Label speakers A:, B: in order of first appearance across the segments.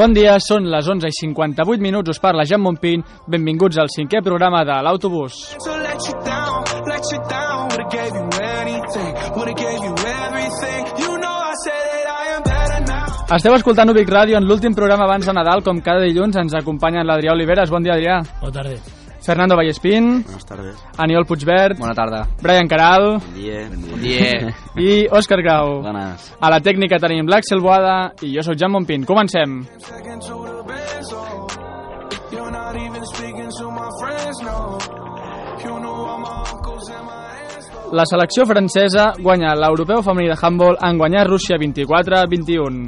A: Bon dia, són les 11 i 58 minuts, us parla Jan Montpín, benvinguts al cinquè programa de l'Autobús. Esteu escoltant Ubic Ràdio en l'últim programa abans de Nadal, com cada dilluns ens acompanyen l'Adrià Oliveres, bon dia Adrià.
B: Bona tarda.
A: Fernando Vallespín,
C: Buenas tardes.
A: Aniol Puigvert,
D: Bona tarda.
A: Brian Caral
C: Bon dia.
D: Bon dia.
A: i Òscar Grau.
D: Bones.
A: A la tècnica tenim l'Axel Boada i jo sóc Jan Montpín. Comencem. La selecció francesa guanya l'europeu femení de handball en guanyar Rússia 24-21.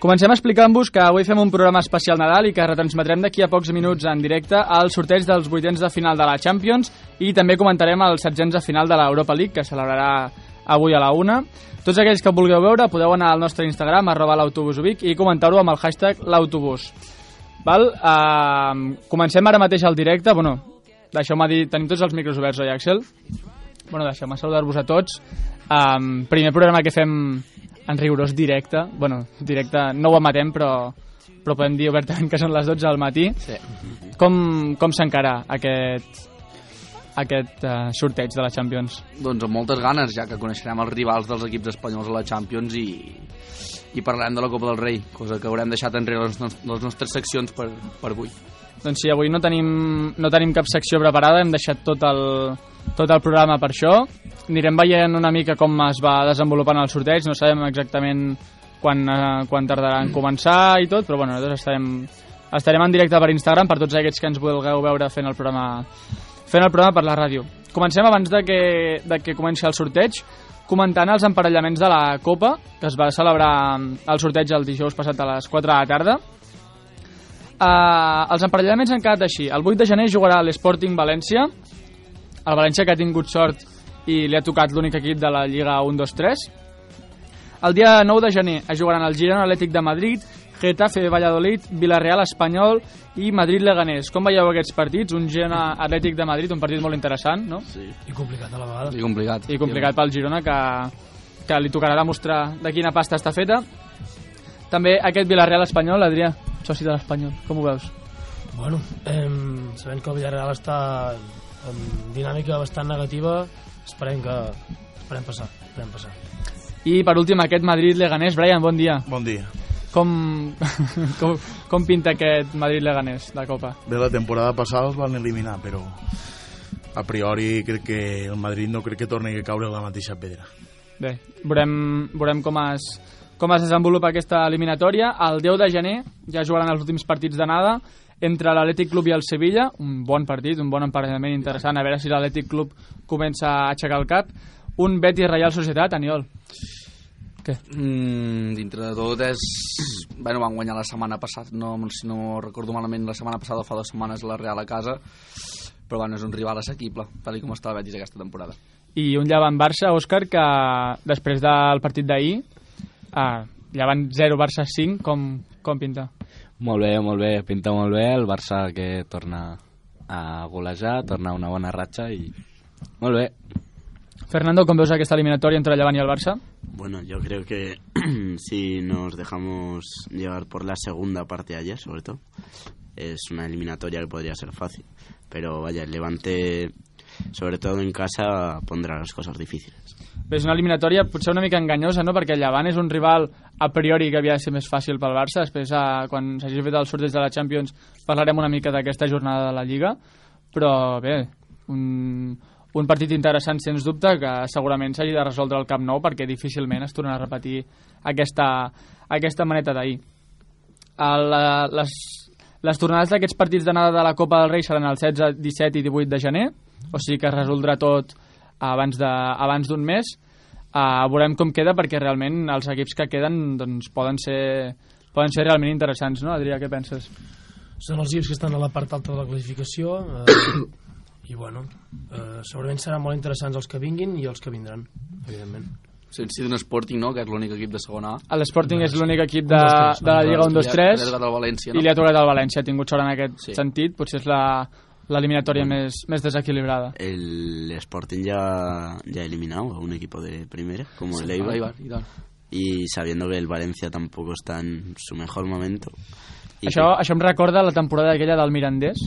A: Comencem explicant-vos que avui fem un programa especial Nadal i que retransmetrem d'aquí a pocs minuts en directe al sorteig dels vuitens de final de la Champions i també comentarem els setzents de final de l'Europa League que celebrarà avui a la una. Tots aquells que vulgueu veure podeu anar al nostre Instagram arroba l'autobusubic i comentar-ho amb el hashtag l'autobús. Val? Uh, comencem ara mateix el directe. Bueno, deixeu-me dir... Tenim tots els micros oberts, oi, Axel? Bueno, deixeu-me saludar-vos a tots. Um, primer programa que fem en rigorós directe. Bueno, directe no ho emetem, però, però podem dir obertament que són les 12 del matí.
D: Sí.
A: Com, com s'encara aquest, aquest uh, sorteig de la Champions?
D: Doncs amb moltes ganes, ja que coneixerem els rivals dels equips espanyols a la Champions i, i parlarem de la Copa del Rei, cosa que haurem deixat enrere les, nos les nostres seccions per, per avui.
A: Doncs sí, avui no tenim, no tenim cap secció preparada, hem deixat tot el, tot el programa per això. Anirem veient una mica com es va desenvolupant el sorteig, no sabem exactament quan, eh, quan tardarà en començar i tot, però bueno, nosaltres estarem, estarem en directe per Instagram per tots aquests que ens vulgueu veure fent el programa, fent el programa per la ràdio. Comencem abans de que, de que comenci el sorteig comentant els emparellaments de la Copa, que es va celebrar el sorteig el dijous passat a les 4 de la tarda. Uh, els emparellaments han quedat així. El 8 de gener jugarà l'Sporting València. El València que ha tingut sort i li ha tocat l'únic equip de la Lliga 1-2-3. El dia 9 de gener es jugaran el Girona Atlètic de Madrid, Getafe Valladolid, Villarreal Espanyol i Madrid Leganés. Com veieu aquests partits? Un Girona Atlètic de Madrid, un partit molt interessant, no?
D: Sí.
B: I complicat a la vegada.
D: I complicat.
A: I complicat pel Girona, que, que li tocarà demostrar de quina pasta està feta. També aquest Villarreal Espanyol, Adrià, soci de l'Espanyol, com ho veus?
B: Bueno, eh, sabent que el Villarreal està en dinàmica bastant negativa, esperem que... Esperem passar, esperem passar.
A: I per últim aquest Madrid-Leganés. Brian, bon dia.
E: Bon dia.
A: Com, com, com pinta aquest Madrid-Leganés de Copa?
E: Bé, la temporada passada els van eliminar, però a priori crec que el Madrid no crec que torni a caure en la mateixa pedra.
A: Bé, veurem, veurem com, es, com es desenvolupa aquesta eliminatòria. El 10 de gener ja jugaran els últims partits d'anada entre l'Atlètic Club i el Sevilla. Un bon partit, un bon emparellament interessant. A veure si l'Atlètic Club comença a aixecar el cap. Un Betis Reial Societat, Aniol. Què?
D: Mm, dintre de tot és... Bueno, van guanyar la setmana passada, no, si no recordo malament, la setmana passada o fa dues setmanes la Real a casa, però bueno, és un rival assequible, tal i com està el Betis aquesta temporada.
A: I un llevant Barça, Òscar, que després del partit d'ahir, ah, llevant 0, Barça 5, com, com pinta?
F: Molt bé, molt bé, pinta molt bé el Barça que torna a golejar, torna a una bona ratxa i... Molt bé.
A: Fernando, com veus aquesta eliminatòria entre el Llevant i el Barça?
C: Bueno, yo creo que si nos dejamos llevar por la segunda parte de ayer, sobre todo, es una eliminatoria que podría ser fácil. Pero vaya, el Levante, sobre todo en casa, pondrá las cosas difíciles.
A: Bé, és una eliminatòria potser una mica enganyosa, no? Perquè el Llevant és un rival a priori que havia de ser més fàcil pel Barça. Després, eh, quan s'hagi fet el sorteig de la Champions, parlarem una mica d'aquesta jornada de la Lliga. Però bé, un, un partit interessant, sens dubte, que segurament s'hagi de resoldre al Camp Nou perquè difícilment es tornarà a repetir aquesta, aquesta maneta d'ahir. A la, eh, les, les tornades d'aquests partits d'anada de la Copa del Rei seran el 16, 17 i 18 de gener, o sigui que es resoldrà tot abans de- abans d'un mes. Uh, veurem com queda perquè realment els equips que queden doncs, poden, ser, poden ser realment interessants, no, Adrià? Què penses?
B: Són els equips que estan a la part alta de la classificació eh, i, bueno, eh, segurament seran molt interessants els que vinguin i els que vindran, evidentment.
D: Sí, sí d'un Sporting, no?, que és l'únic equip de segona A.
A: L'Sporting és l'únic equip de,
B: Un, dos, tres,
A: de la Lliga 1-2-3
D: Li ha tocat el València,
A: i
D: no?
A: li ha tocat al València. Ha tingut sort en aquest
D: Sí.
A: sentit. Potser és la- l'eliminatòria més, més desequilibrada.
C: El Sporting ya, ya ha eliminado a un equipo de primera, como el Eibar.
D: Eibar, i tant.
C: Y sabiendo que el Valencia tampoco está en su mejor momento. Y
A: Això, això em recorda la temporada aquella del Mirandés.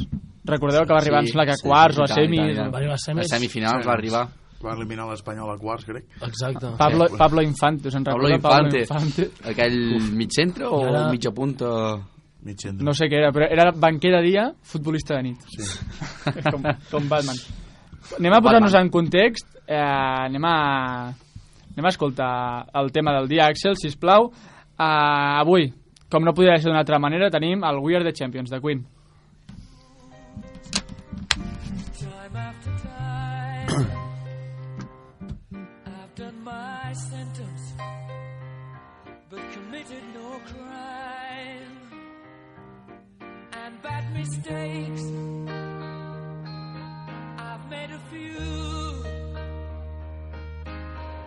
A: Recordeu que va arribar
D: Sí,
A: sí, a
D: sí,
A: quarts
D: sí,
A: o
D: i
A: a
D: tant, i tant, i
A: semis.
D: tant.
A: o-
B: Va arribar a
D: A
B: semis.
D: semifinals va arribar.
E: Va eliminar l'Espanyol a quarts, crec.
B: Exacte.
A: Pablo, Pablo Infante, us en
D: Pablo
A: recorda?
D: Infante.
A: Infante.
D: Aquell mig centre o
B: I ara-
D: mitja punta?
E: Mig centre.
A: No sé què era, però era banquer de dia, futbolista de nit.
E: Sí.
A: com, com Batman. Anem a posar-nos en context. Eh, anem a... Anem a escoltar el tema del dia, Axel, si plau. Eh, avui, com no podia ser d'una altra manera, tenim el We Are The Champions, de Queen.
G: time after time. I've done my sentence, but committed no crime. And bad mistakes, I've made a few.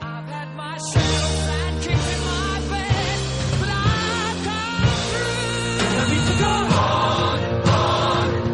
G: I've had my shadows and kicks in my bed, but I've come through. I need to go on.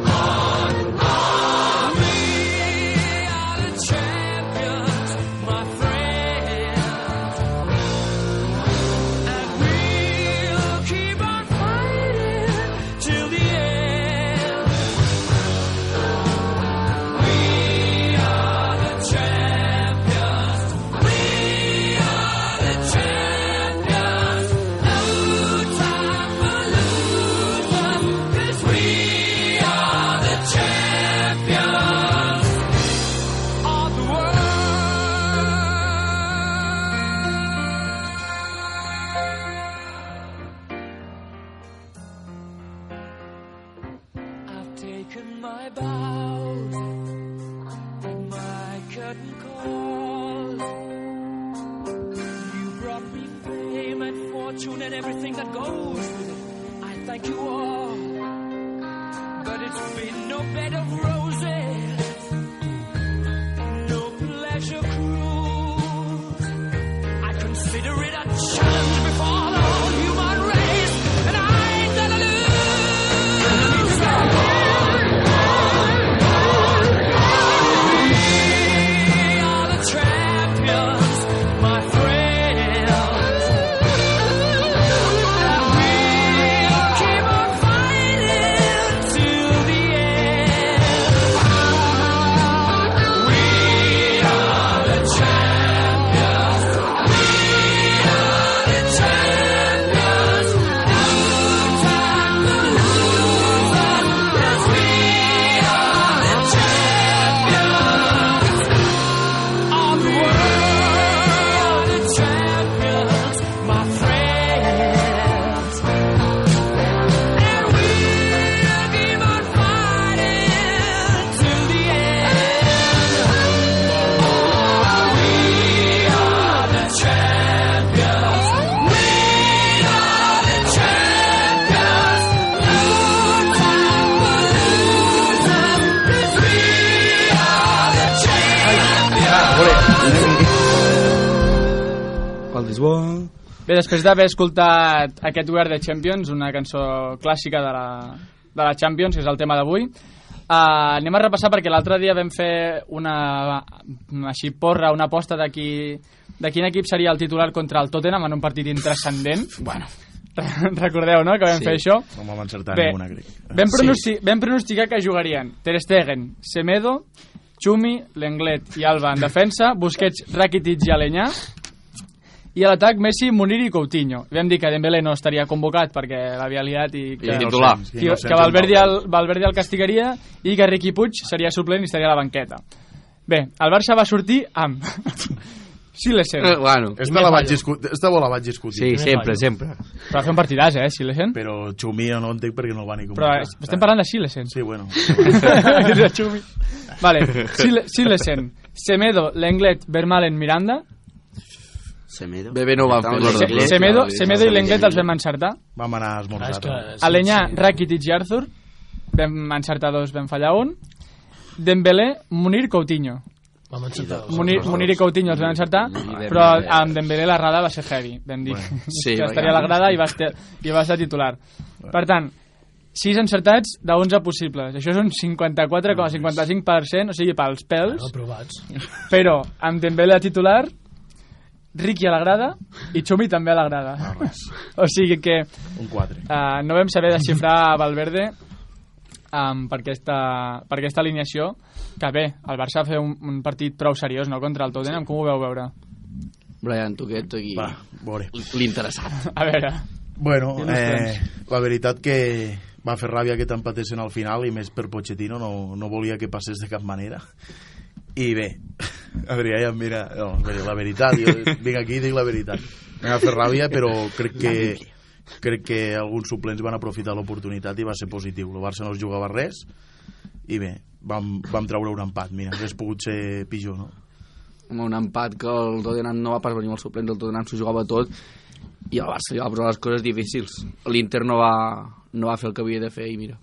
G: We are the champions of the world. I've taken my bows and my curtain calls. You brought me fame and fortune and everything that goes with it. I thank you all. But it's been no bed of roses no pleasure cruise. I consider it a challenge before the whole human race, and I ain't gonna lose. We are the champions, my friends. And we'll keep on fighting till the end.
D: El Lisboa...
A: Bé, després d'haver escoltat aquest We Are The Champions, una cançó clàssica de la, de la Champions, que és el tema d'avui, uh, anem a repassar perquè l'altre dia vam fer una, així porra, una aposta de, qui, de quin equip seria el titular contra el Tottenham en un partit intrascendent. bueno. Recordeu, no?, que vam
D: Sí.
A: sí. fer això.
E: No vam encertar
A: Bé,
E: ninguna, crec.
A: vam, pronosti vam pronosticar que jugarien Ter Stegen, Semedo, Chumi, Lenglet i Alba en defensa, Busquets, Rakitic i Alenyà, i a l'atac Messi, Munir i Coutinho. Vam dir que Dembélé no estaria convocat perquè l'havia liat i que,
D: I titular.
E: Sí,
A: que,
E: innocent,
A: que Valverde,
E: Valverde.
A: el, Valverde el castigaria i que Riqui Puig seria suplent i estaria a la banqueta. Bé, el Barça va sortir amb... Silesen.
D: Eh, bueno,
E: Esta, la vaig discutir, esta bola vaig discutir.
D: sí, sempre,
B: fallo.
D: sempre.
A: Però va fer un partidàs, eh, Silesen.
E: Però Xumi no entenc perquè no el van ni
A: Però
E: convocar.
A: eh, estem parlant de Silesen.
E: Sí, bueno.
A: Era Xumi. Vale, Sil- Silesen, Semedo, Lenglet, Vermalen, Miranda.
C: Semedo.
D: Bebé no va
C: Estamos
D: a
C: en
D: fer
A: Se-
C: inglés,
A: Semedo,
C: todavía.
A: Semedo i Lenglet els vam encertar.
E: Vam anar a
B: Ah,
E: esmorzar.
B: és que...
E: no?
A: Alenyà, Rakitic i Arthur. Vam encertar dos, vam fallar un. Dembélé, Munir, Coutinho.
B: Vam encertar.
A: Munir, Munir i Coutinho els van encertar,
D: Dembélé.
A: però amb Dembélé la rada va ser heavy, vam dir.
D: sí,
A: que
D: va
A: estaria a la grada i va, ser, i va ser titular. Per tant, 6 encertats de 11 possibles. Això és un 54,55%, o sigui, pels pèls,
B: No, aprovats.
A: però amb Dembélé de titular, Ricky a la grada i Chumi també a la grada. O sigui que
E: Un 4.
A: Uh, no vam saber desxifrar Valverde um, per, aquesta, per aquesta alineació que bé, el Barça va fer un, un partit prou seriós no? contra el Tottenham, com ho veu veure?
D: Brian, tu que ets aquí
E: Va, veure.
D: l'interessat.
A: A veure,
E: Bueno,
A: Quines
E: eh, la veritat que va fer ràbia que t'empatessin al final i més per Pochettino no, no volia que passés de cap manera i bé Adrià ja em mira no, bé, la veritat, jo vinc aquí i dic la veritat em va fer ràbia però crec que crec que alguns suplents van aprofitar l'oportunitat i va ser positiu el Barça no es jugava res i bé, vam, vam treure un empat mira, hagués pogut ser pitjor no?
D: Amb un empat que el Tottenham no va pas venir amb el suplent, el Tottenham s'ho jugava tot i el Barça li va posar les coses difícils. L'Inter no va, no va fer el que havia de fer i mira,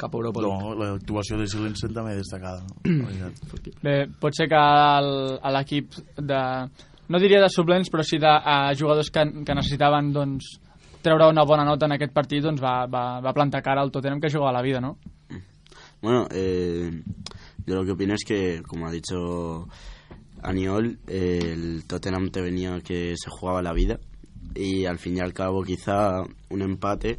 D: cap a Europa. League.
E: no, l'actuació de Silensen també destacada no? La veritat.
A: bé, pot ser que el- a l'equip de... no diria de suplents, però sí de a jugadors que, que necessitaven doncs, treure una bona nota en aquest partit doncs va, va, va plantar cara al Tottenham que jugava a la vida, no?
C: Bueno, eh, yo lo que opino es que, como ha dicho Aniol, eh, el Tottenham te venía que se jugaba la vida y al fin y al cabo quizá un empate,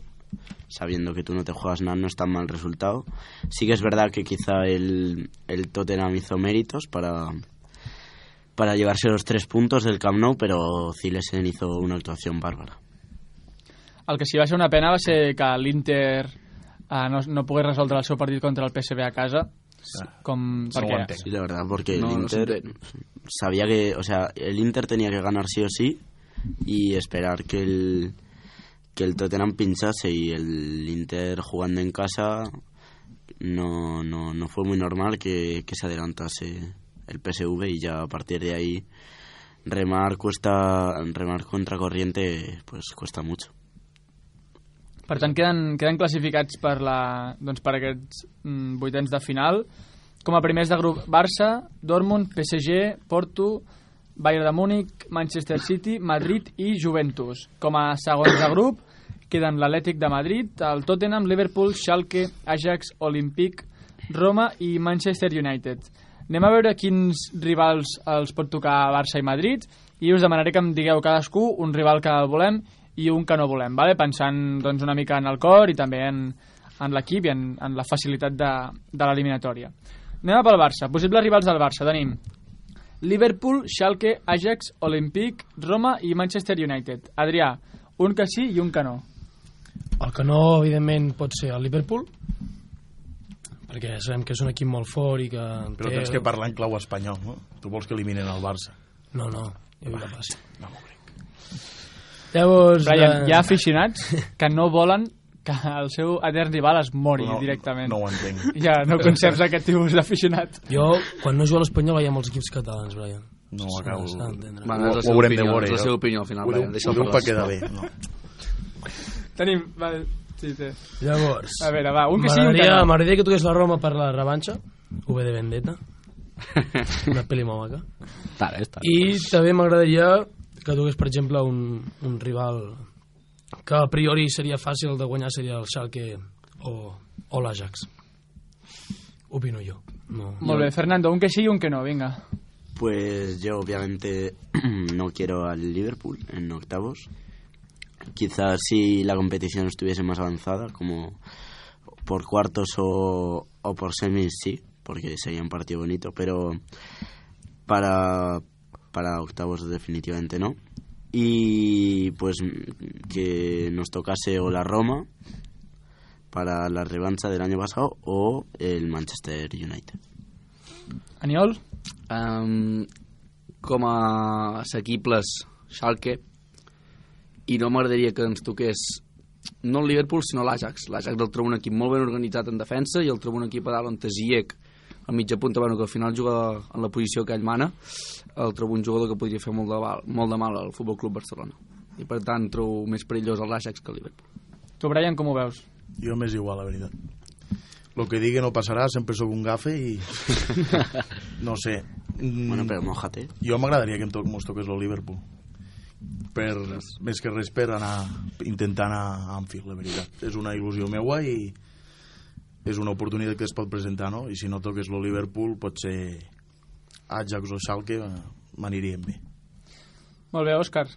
C: sabiendo que tú no te juegas nada, no es tan mal resultado. Sí que es verdad que quizá el, el Tottenham hizo méritos para para llevarse los tres puntos del Camp Nou, pero Zilesen hizo una actuación bárbara.
A: El que sí va ser una pena va ser que l'Inter eh, no, no pogués resoldre el seu partit contra el PSV a casa. Com,
H: No ho
A: perquè,
H: entenc.
C: Sí, la verdad, porque
D: No,
C: el
D: no
C: Inter
D: s'entén.
C: sabía que, o sea, el Inter tenía que ganar sí o sí y esperar que el que el Tottenham pinchase y el Inter jugando en casa no no, no fue muy normal que, que se adelantase el PSV y ya a partir de ahí remar cuesta remar contra corriente pues cuesta mucho.
A: Per tant, queden, queden classificats per, la, doncs per aquests mm, vuitens de final. Com a primers de grup, Barça, Dortmund, PSG, Porto, Bayern de Múnich, Manchester City, Madrid i Juventus. Com a segons de grup, queden l'Atlètic de Madrid, el Tottenham, Liverpool, Schalke, Ajax, Olímpic, Roma i Manchester United. Anem a veure quins rivals els pot tocar Barça i Madrid i us demanaré que em digueu cadascú un rival que volem i un que no volem, vale? pensant doncs, una mica en el cor i també en, en l'equip i en, en la facilitat de, de l'eliminatòria. Anem a pel Barça. Possibles rivals del Barça tenim Liverpool, Schalke, Ajax, Olympic, Roma i Manchester United. Adrià, un que sí i un que no.
B: El que no, evidentment, pot ser el Liverpool, perquè sabem que és un equip molt fort i que...
E: Però tens
B: Eh,
E: que parlar en clau espanyol, no? Tu vols que eliminen el Barça.
B: No, no, jo crec que passi. No m'ho crec. Llavors...
A: Brian,
B: eh,
A: hi ha aficionats que no volen que el seu etern rival es mori
E: No,
A: directament.
E: No ho entenc.
A: Ja, no conceps aquest tipus d'aficionat.
B: Jo, quan no jugo a l'Espanyol, veia molts equips catalans, Brian.
E: No ho acabo.
B: s'ha d'entendre.
D: Va,
E: Ho-
D: és la
E: ho
D: seva
E: haurem de
D: opinió,
E: veure,
D: és la
E: jo.
D: seva opinió al final,
E: Ho diu,
D: Brian,
E: ho
D: deixa'l
E: diu
D: parlar.
E: per quedar bé. No.
A: Tenim... Va, sí, sí.
B: Llavors...
A: A veure, va, un que sí i un que
B: M'agradaria
A: no.
B: m'agradaria que toqués la Roma per la revanxa, V de Vendetta, una pel·li molt maca.
F: Tal, eh, tal.
B: I també m'agradaria que toqués, per exemple, un, un rival que a priori seria fàcil de guanyar, seria el Schalke o, o l'Ajax. Opino jo. No.
A: Molt bé, Fernando, un que sí i un que no, vinga.
C: Pues yo obviamente no quiero al Liverpool en octavos. Quizás si la competición estuviese más avanzada, como por cuartos o, o por semis, sí, porque sería un partido bonito, pero para, para octavos definitivamente no. Y pues mm, que nos tocase o la Roma para la revancha del año pasado o el Manchester United.
A: Aniol?
D: Um, com a assequibles, Schalke, i no m'agradaria que ens toqués no el Liverpool, sinó l'Ajax. L'Ajax el trobo un equip molt ben organitzat en defensa i el trobo un equip a dalt on té Ziyech, a mitja punta, bueno, que al final juga en la posició que ell mana, el trobo un jugador que podria fer molt de, val, molt de mal al Futbol Club Barcelona. I per tant trobo més perillós a l'Ajax que el Liverpool.
A: Tu, Brian, com ho veus?
E: Jo m'és igual, la veritat. Lo que digui no passarà, sempre sóc un gafe i... No sé, Mm,
C: Bueno, però mojate.
E: Jo m'agradaria que em toc, mos toqués el Liverpool. Per, més que res per anar intentant a Anfield, la veritat. És una il·lusió meua i és una oportunitat que es pot presentar, no? I si no toques el Liverpool, potser Ajax o Schalke eh, m'anirien bé.
A: Molt bé, Òscar.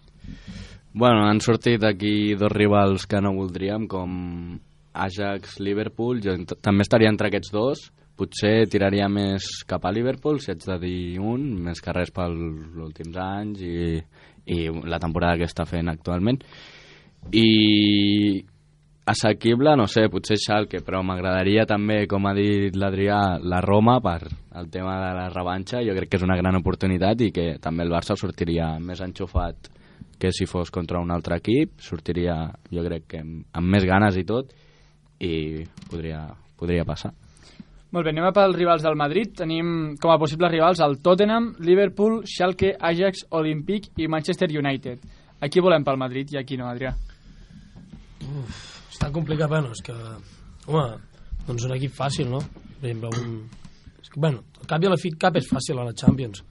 F: Bueno, han sortit aquí dos rivals que no voldríem, com Ajax, Liverpool. Jo ent- també estaria entre aquests dos. Potser tiraria més cap a Liverpool, si haig de dir un, més que res pels últims anys i, i la temporada que està fent actualment. I assequible, no sé, potser Schalke, però m'agradaria també, com ha dit l'Adrià, la Roma per el tema de la revanxa. Jo crec que és una gran oportunitat i que també el Barça sortiria més enxufat que si fos contra un altre equip. Sortiria, jo crec que amb, amb més ganes i tot i podria, podria passar.
A: Molt bé, anem a pels rivals del Madrid. Tenim com a possibles rivals el Tottenham, Liverpool, Schalke, Ajax, Olympic i Manchester United. Aquí volem pel Madrid i aquí no, Adrià.
B: Està complicat, bueno, és que... Home, doncs un equip fàcil, no? Per exemple, un... És que, bueno, al cap i a la fi, cap és fàcil a la Champions.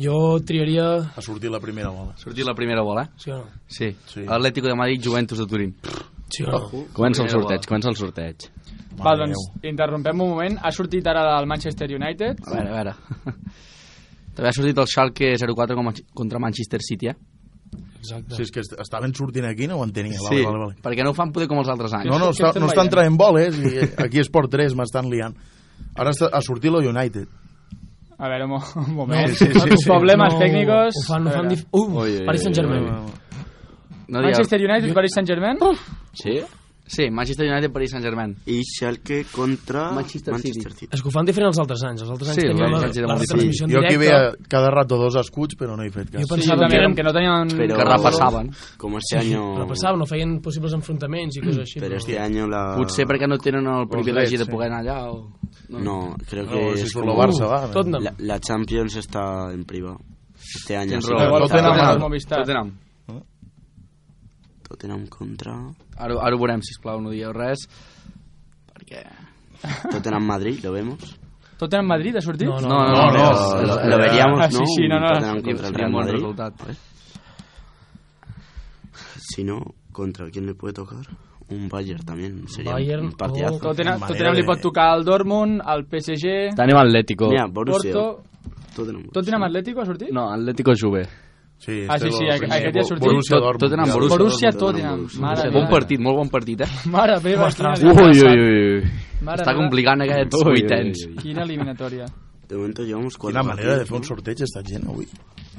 B: Jo triaria...
E: Ha sortit la primera bola.
D: Sortir la primera bola, eh?
B: Sí o no?
D: Sí.
E: Sí.
D: Atlético de Madrid, Juventus de Turín.
B: Sí o no?
F: Comença el
D: Primera
F: sorteig,
D: bola.
F: comença el sorteig.
A: Va,
E: Mare
A: doncs, interrompem un moment. Ha sortit ara del Manchester United.
D: A veure, a veure. També ha sortit el Schalke 04 com a- contra Manchester City, eh?
B: Exacte.
E: Si és que est- estaven sortint aquí, no ho entenia.
D: sí,
E: Vale, vale, vale.
D: perquè no ho fan poder com els altres anys.
E: No, no,
A: Què
E: està,
A: estem
E: no estan
A: veient?
E: traient boles i eh, aquí és Sport 3, m'estan liant. Ara està, ha sortit lo United.
A: A veure, un, mo- un moment.
E: Sí, sí, sí, sí.
A: Problemes tècnicos.
B: Ho fan,
A: A
B: ho fan...
A: veure.
B: Dif... Uh,
F: Ui, ui,
B: Paris
F: ui,
B: Saint-Germain.
D: no dieu-
A: Manchester United, Paris Saint-Germain.
F: Sí?
D: Sí, Manchester United, Paris Saint-Germain.
C: I Schalke contra
D: Manchester
C: Manchester,
D: City.
C: City.
B: És que ho fan diferent als altres anys. Els altres anys
D: Sí,
B: tenien la,
D: els anys era
B: la
D: molt
B: retransmissió en
E: jo aquí
B: directe.
E: veia cada rato dos escuts, però no he fet cas.
B: Jo
A: Sí, jo
B: pensava
A: també,
B: que érem...
A: que no tenien...
C: Però-
D: Que repassaven.
C: Como este año...
B: Repassava, no feien possibles enfrontaments i coses així.
C: Pero
B: però-
C: este año la...
D: Potser perquè no tenen el privilegi
E: drets,
D: de poder anar allà o...
C: No, creo que
E: No, si
C: es
E: surt
C: como...
E: el Barça, va.
B: Tot no.
C: La, la Champions está en privado. Este año
D: Tens
C: sí.
D: raó.
E: Tottenham,
A: Tottenham,
E: Tottenham.
A: Movistar.
D: Tottenham.
C: Tottenham contra...
D: Ara, ara ho veurem, sisplau, no dieu res. Perquè...
C: Tottenham Madrid, lo vemos.
A: Tottenham Madrid ha sortit?
B: No,
D: No, no,
E: no,
D: no.
E: no,
D: és-
C: lo,
D: és-
C: lo veríamos,
A: Ah,
C: ¿no?
A: sí, sí, no,
C: Un
A: no,
C: Tottenham
A: sí,
C: contra el
D: Seria
C: Real
D: molt
C: Madrid.
D: resultat.
C: Si no, ¿contra quién le puede tocar? Un Bayern también. Sería
B: Bayern
C: un partidazo.
B: o
A: oh, Tottenham,
E: Manera
A: Tottenham li
E: de-
A: pot tocar al Dortmund, al PSG,
F: Tenim Atlético.
C: Mira, Borussia.
A: Porto...
C: Tottenham.
A: Tottenham Atlético ha sortit?
F: No, Atlético Juve.
E: Sí,
A: Ah, sí,
E: este
A: sí,
E: lo-
A: aqu-
E: primer.
A: aquest ja ha sortit.
E: Borussia
D: Tot-
E: Dortmund.
D: Tottenham,
E: Ja.
D: Borussia.
A: Borussia
C: Tottenham,
A: Tottenham. Mare meva.
D: Bon partit, molt bon partit, eh?
A: Mare meva, quina
F: Ui, ui,
A: eliminatòria.
F: ui.
A: Mare
D: Està
A: meva,
D: complicant aquests
F: Ui, ui, ui.
D: vuitens.
A: Quina eliminatòria.
C: De momento llevamos cuatro
E: Quina manera de
C: partidos,
E: fer un
C: ¿no?
E: sorteig esta gent avui.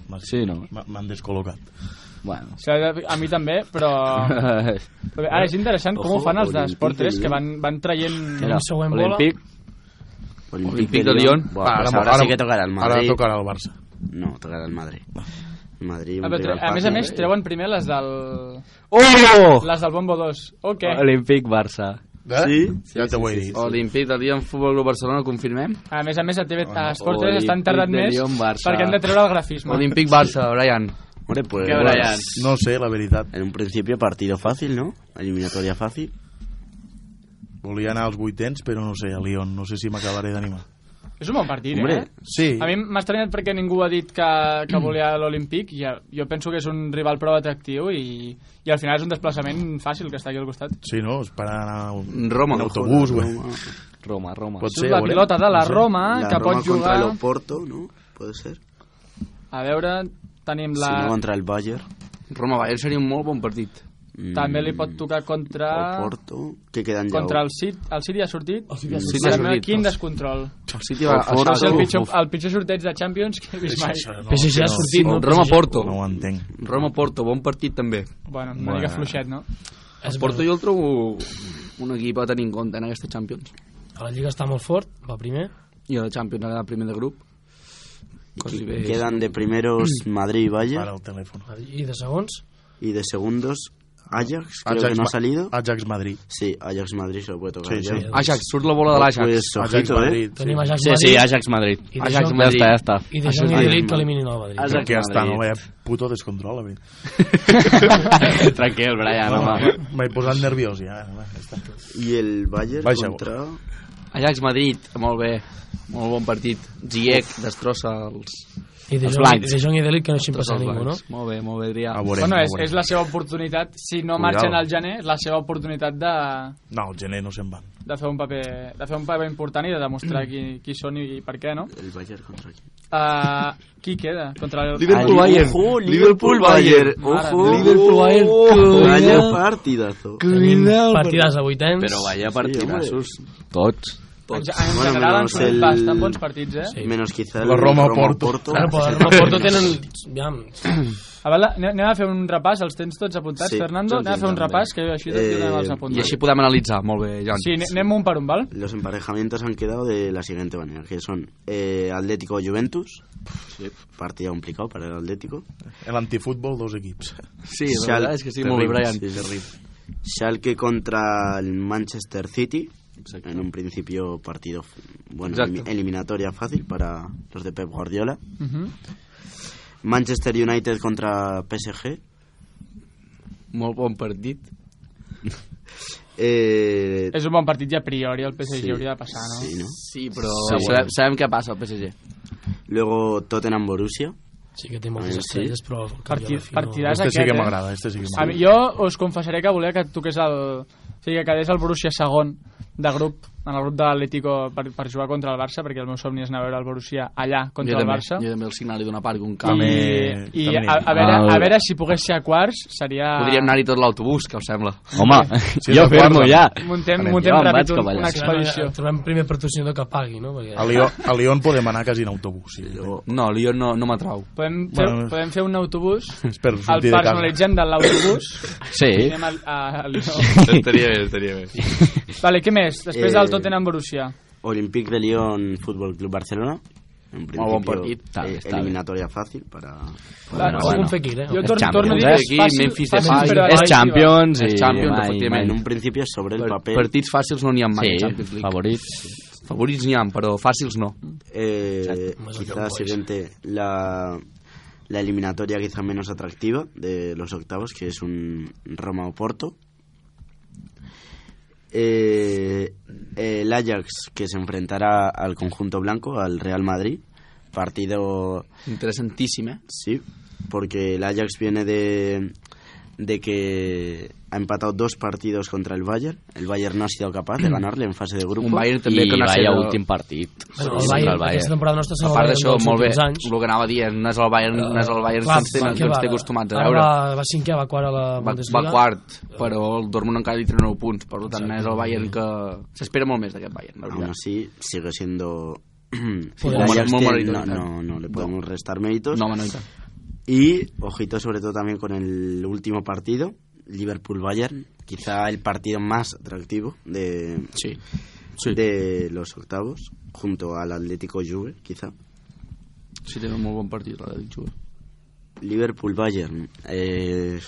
E: M'ha-
F: Sí, no?
E: m'ha- M'han descol·locat.
F: Bueno.
A: O sigui, a mi també, però... però Ara és interessant com ho fan els d'Esport 3,
C: eh?
A: que van, van traient...
F: Mira,
B: següent bola.
F: Olímpic.
C: Olympique
D: de
C: de
D: Lyon.
C: Lyon. Buah, pues ahora, sí que tocará el Madrid.
E: Ara tocarà el Barça.
C: No, tocará el Madrid. El Madrid, un
A: A, veure,
C: rival
A: a més a
C: fácil.
A: més, treuen primer les del...
F: Oh!
A: Les del Bombo 2. Ok.
F: Olímpic Barça.
E: Eh?
C: Sí?
E: Ja t'ho he dit.
D: Olímpic de Lyon, Futbol Club Barcelona, confirmem.
A: A més a més, a, TV, a Esport
F: Olímpic
A: 3 estan tardant
F: de
A: més
F: Lyon, Barça.
A: perquè han de treure el grafisme.
D: Olímpic Barça, Brian.
C: Hombre, pues,
D: Que ahora ya-
E: No sé, la veritat.
C: En un principio partido fácil, ¿no? Eliminatoria fácil.
E: Volia anar als vuitens, però no sé, a Lyon. No sé si m'acabaré d'animar.
A: És un bon partit,
C: Hombre,
A: eh?
E: Sí,
A: A mi m'ha estranyat perquè ningú ha dit que, que volia l'Olímpic. Ja, jo penso que és un rival prou atractiu i, i al final és un desplaçament fàcil que està aquí al costat.
E: sí, no? És per anar un,
D: Roma.
E: en autobús, güey.
C: Roma.
F: Roma, Roma.
E: Pot
A: Sí, la
E: veurem.
A: pilota de la
E: No sé.
A: Roma,
C: La
A: Ah, que
C: Roma
A: pot jugar...
C: contra el Oporto, ¿no? Puede ser.
A: A veure, tenim la...
C: Si no, contra el Bayern.
D: Roma-Bayern seria un molt bon partit.
C: Mm,
A: També li pot tocar contra...
C: Oporto. Que quedan ya.
A: Ah. Contra el City. El City ha sortit.
B: City ha
A: Mare meva,
D: sortit. City ha sortit.
A: Quin descontrol.
D: El City va
C: Oporto.
D: a
A: Ah, És el
C: Uf,
A: pitjor,
C: uf.
A: el pitjor sorteig de Champions que he vist mai.
B: PSG ha sortit, no?
D: Roma-Porto.
E: No ho entenc.
D: Roma-Porto, bon partit també.
A: Bueno, una mica fluixet, no?
D: El Porto jo el trobo un equip a tenir en compte en aquesta Champions.
B: A la Lliga està molt fort, va primer.
D: I a la Champions ha quedat primer de grup. Quasi bé.
C: Quedan de primeros Madrid y Bayern.
E: Para el telèfon.
B: I de segons,
C: Y de segundos Ajax. Creo que no
E: Ah,
C: ha
E: Ma-
C: salido.
E: Ajax Madrid.
C: Sí, Ajax Madrid se lo puede tocar.
E: Sí, Ah,
C: ya.
E: sí.
D: Ajax, surt la bola de l'Ajax.
C: Pues
E: Ajax
C: ojito, ¿eh?
E: Madrid.
B: tenim Ajax
F: Sí,
B: Madrid.
F: sí, Ajax Madrid.
B: I
D: Ah,
B: de
F: Ajax
B: Jong
F: Madrid. Ja està,
B: Madrid.
F: ja està.
B: I de Jong i Madrid que eliminin el Madrid.
E: Crec que ja està, no?
F: Madrid.
E: Vaya puto descontrol, eh, a mi.
F: Tranquil,
D: Ah,
F: Brian, home.
E: M'he posat nerviós, ja. Va, ja Ah, està.
C: Y el Bayern
E: Vaya,
C: contra
D: Ajax Madrid, molt bé, molt bon partit. Ziyech destrossa els,
B: I de
D: Els
B: Jong,
D: blancs.
B: de Jong i Delic que no xin
D: tots
B: passar
D: els
B: ningú, no?
D: blancs. Molt bé, molt bé,
F: Ah,
D: Adrià.
E: A veurem,
A: Bueno,
E: a
A: és,
E: veurem.
A: és la seva oportunitat, si no
E: Cuidao.
A: marxen al gener, és la seva oportunitat de,
E: No, el gener no se'n van.
A: de, fer un paper, de fer un paper important i de demostrar qui, qui són i, per què, no?
C: El Bayern contra aquí.
A: Uh, qui queda contra el...
C: Liverpool Bayern. Liverpool Bayern.
A: Mare
C: Ojo.
A: meva.
F: Liverpool Bayern.
C: Vaya
F: Cuidado.
C: partidazo.
B: Partides a vuitens.
F: Però vaya partidassos.
C: Sí,
F: Tots.
A: En, ge- en
C: Bueno,
A: general han
C: menos
A: sortit
C: el-
A: bastant bons partits, eh?
B: Sí.
C: Menos quizá el
E: La Roma
C: Roma
E: Porto.
C: Porto.
B: Claro, pues. però no, Porto tenen... Ja,
A: A veure, ane- anem a fer un repàs, els tens tots apuntats,
C: Sí,
A: Fernando?
C: tots
A: Anem a fer un
C: apuntats,
A: repàs, que així tot
C: Eh,
A: eh, els
D: I
A: apuntats.
D: així podem analitzar, molt bé, Jan.
A: Sí, ane- anem un per un, val?
C: Los emparejamientos han quedado de la siguiente manera, que son eh, Atlético-Juventus, partido complicado para el Atlético,
E: L'antifutbol, dos equips.
D: sí la veritat és que sí, molt bé,
C: Terrible,
D: Brian.
C: sí, terrible. Schalke contra el Manchester City, en un principio partido, f- bueno,
D: Exacto.
C: elimi- eliminatoria fácil para los de Pep Guardiola.
A: Uh -huh.
C: Manchester United contra PSG,
D: Molt bon partit.
C: eh,
A: És un bon partit i a priori el PSG hauria de passar, no?
C: sí, ¿no?
D: Sí, però
C: Sí.
D: sabem, sabem què passa al PSG.
C: Luego Tottenham-Borussia,
B: sí que té moltes
C: Sí.
B: estrelles, però... al cap i a la
A: Partid-
B: fi
A: partidàs
E: Este sí
A: aquest,
E: que
A: eh?
E: m'agrada, este sí que
A: A
E: m'agrada.
A: mi, jo us confessaré que volia que toqués el... O sigui, que quedés el Borussia segon de grup, en el grup de l'Atlético per, per jugar contra el Barça, perquè el meu somni és anar a veure el Borussia allà contra el Barça.
D: Jo també el signal d'una part, un camp.
A: I,
E: També-
A: i
E: també
A: a, a,
E: aniria.
A: veure, a
F: Ah.
A: veure si pogués ser a quarts seria...
D: Podríem anar-hi tot l'autobús, que us sembla.
F: Home,
E: Sí,
F: jo
E: d'acord.
F: firmo ja.
A: Muntem,
E: Anem,
A: muntem
F: jo em vaig
A: ràpid un,
F: cap allà.
A: una
B: Si no, ja,
A: expedició.
B: trobem primer patrocinador que pagui, no? Perquè...
E: A Lyon, a Lyon podem anar quasi en autobús. Sí.
C: luego
D: No, l'Ion no, no m'atrau.
A: Podem fer,
E: Bueno.
A: podem fer un autobús,
E: És per
A: el
E: sortir de casa.
A: personalitzem de l'autobús
F: Sí.
A: i anem al, a, a,
D: estaria bé, estaria bé.
A: Vale, què més? Després del
C: Eh,
A: Tottenham Borussia.
C: Olympique de Lyon Fútbol Club Barcelona. En principio,
D: buen partido. Está bien,
C: eh,
D: está bien.
C: eliminatoria fácil para.
A: Clar,
F: bueno,
A: sí.
F: bueno.
B: Un fekir, eh?
A: Jo
F: És
A: torno, torno a dir que
F: Champions,
A: és
D: eh?
A: fàcil,
D: Memphis
A: fàcil, però
D: Depay.
F: És
A: relativa.
F: Champions i...
D: És Champions,
F: mai,
D: efectivament.
C: En
F: mai.
C: un principio sobre el
D: Per,
C: papel.
D: partits fàcils no n'hi ha mai, sí, Champions
F: Sí,
D: League.
F: favorits.
D: Favorits n'hi ha, però fàcils no.
C: eh,
B: Exacto.
C: quizá
D: pues.
C: siguiente la, la eliminatoria quizá menos atractiva de los octavos, que es un Roma o Porto. Eh, el Ajax que se enfrentará al conjunto blanco, al Real Madrid. Partido
D: Interessantíssim, eh?
C: Sí, porque el Ajax viene de, de que ha empatado dos partidos contra el Bayern. El Bayern no ha sido capaz de ganarle en fase de grupo.
D: Un Bayern també
F: I
D: que no ha
F: vaya
D: sido-
F: últim partit.
B: Bueno,
F: Sí,
B: el
F: contra
B: Bayern, aquesta temporada nostra serà
D: A
B: el
D: part
B: Bayern
D: d'això,
B: dels
D: molt bé,
B: últims anys.
D: el que anava dient, no és el Bayern, no és el Bayern que ens té- que ens té acostumats a
B: ara
D: veure.
B: Ah, Va, va cinquè, va quart a la
D: Va,
B: Bundesliga.
D: va quart, però el Dortmund encara li treu 9 punts, per tant no és el Bayern que... S'espera molt més d'aquest Bayern, la
C: Aún
D: veritat.
C: así, sigue siendo... el
B: Podemos-
C: Ajax
D: Muy
C: tiene- no,
D: meritorio, claro.
C: no, no le podemos restar méritos.
D: No, home, no, i tant.
C: Y ojito sobre todo también con el último partido, Liverpool-Bayern. Quizá el partido más atractivo de,
D: Sí. Sí,
C: de los octavos, junto al Atlético-Juve, quizá.
D: sí té un molt bon partit, la de Juve.
C: Liverpool Bayern. Eh,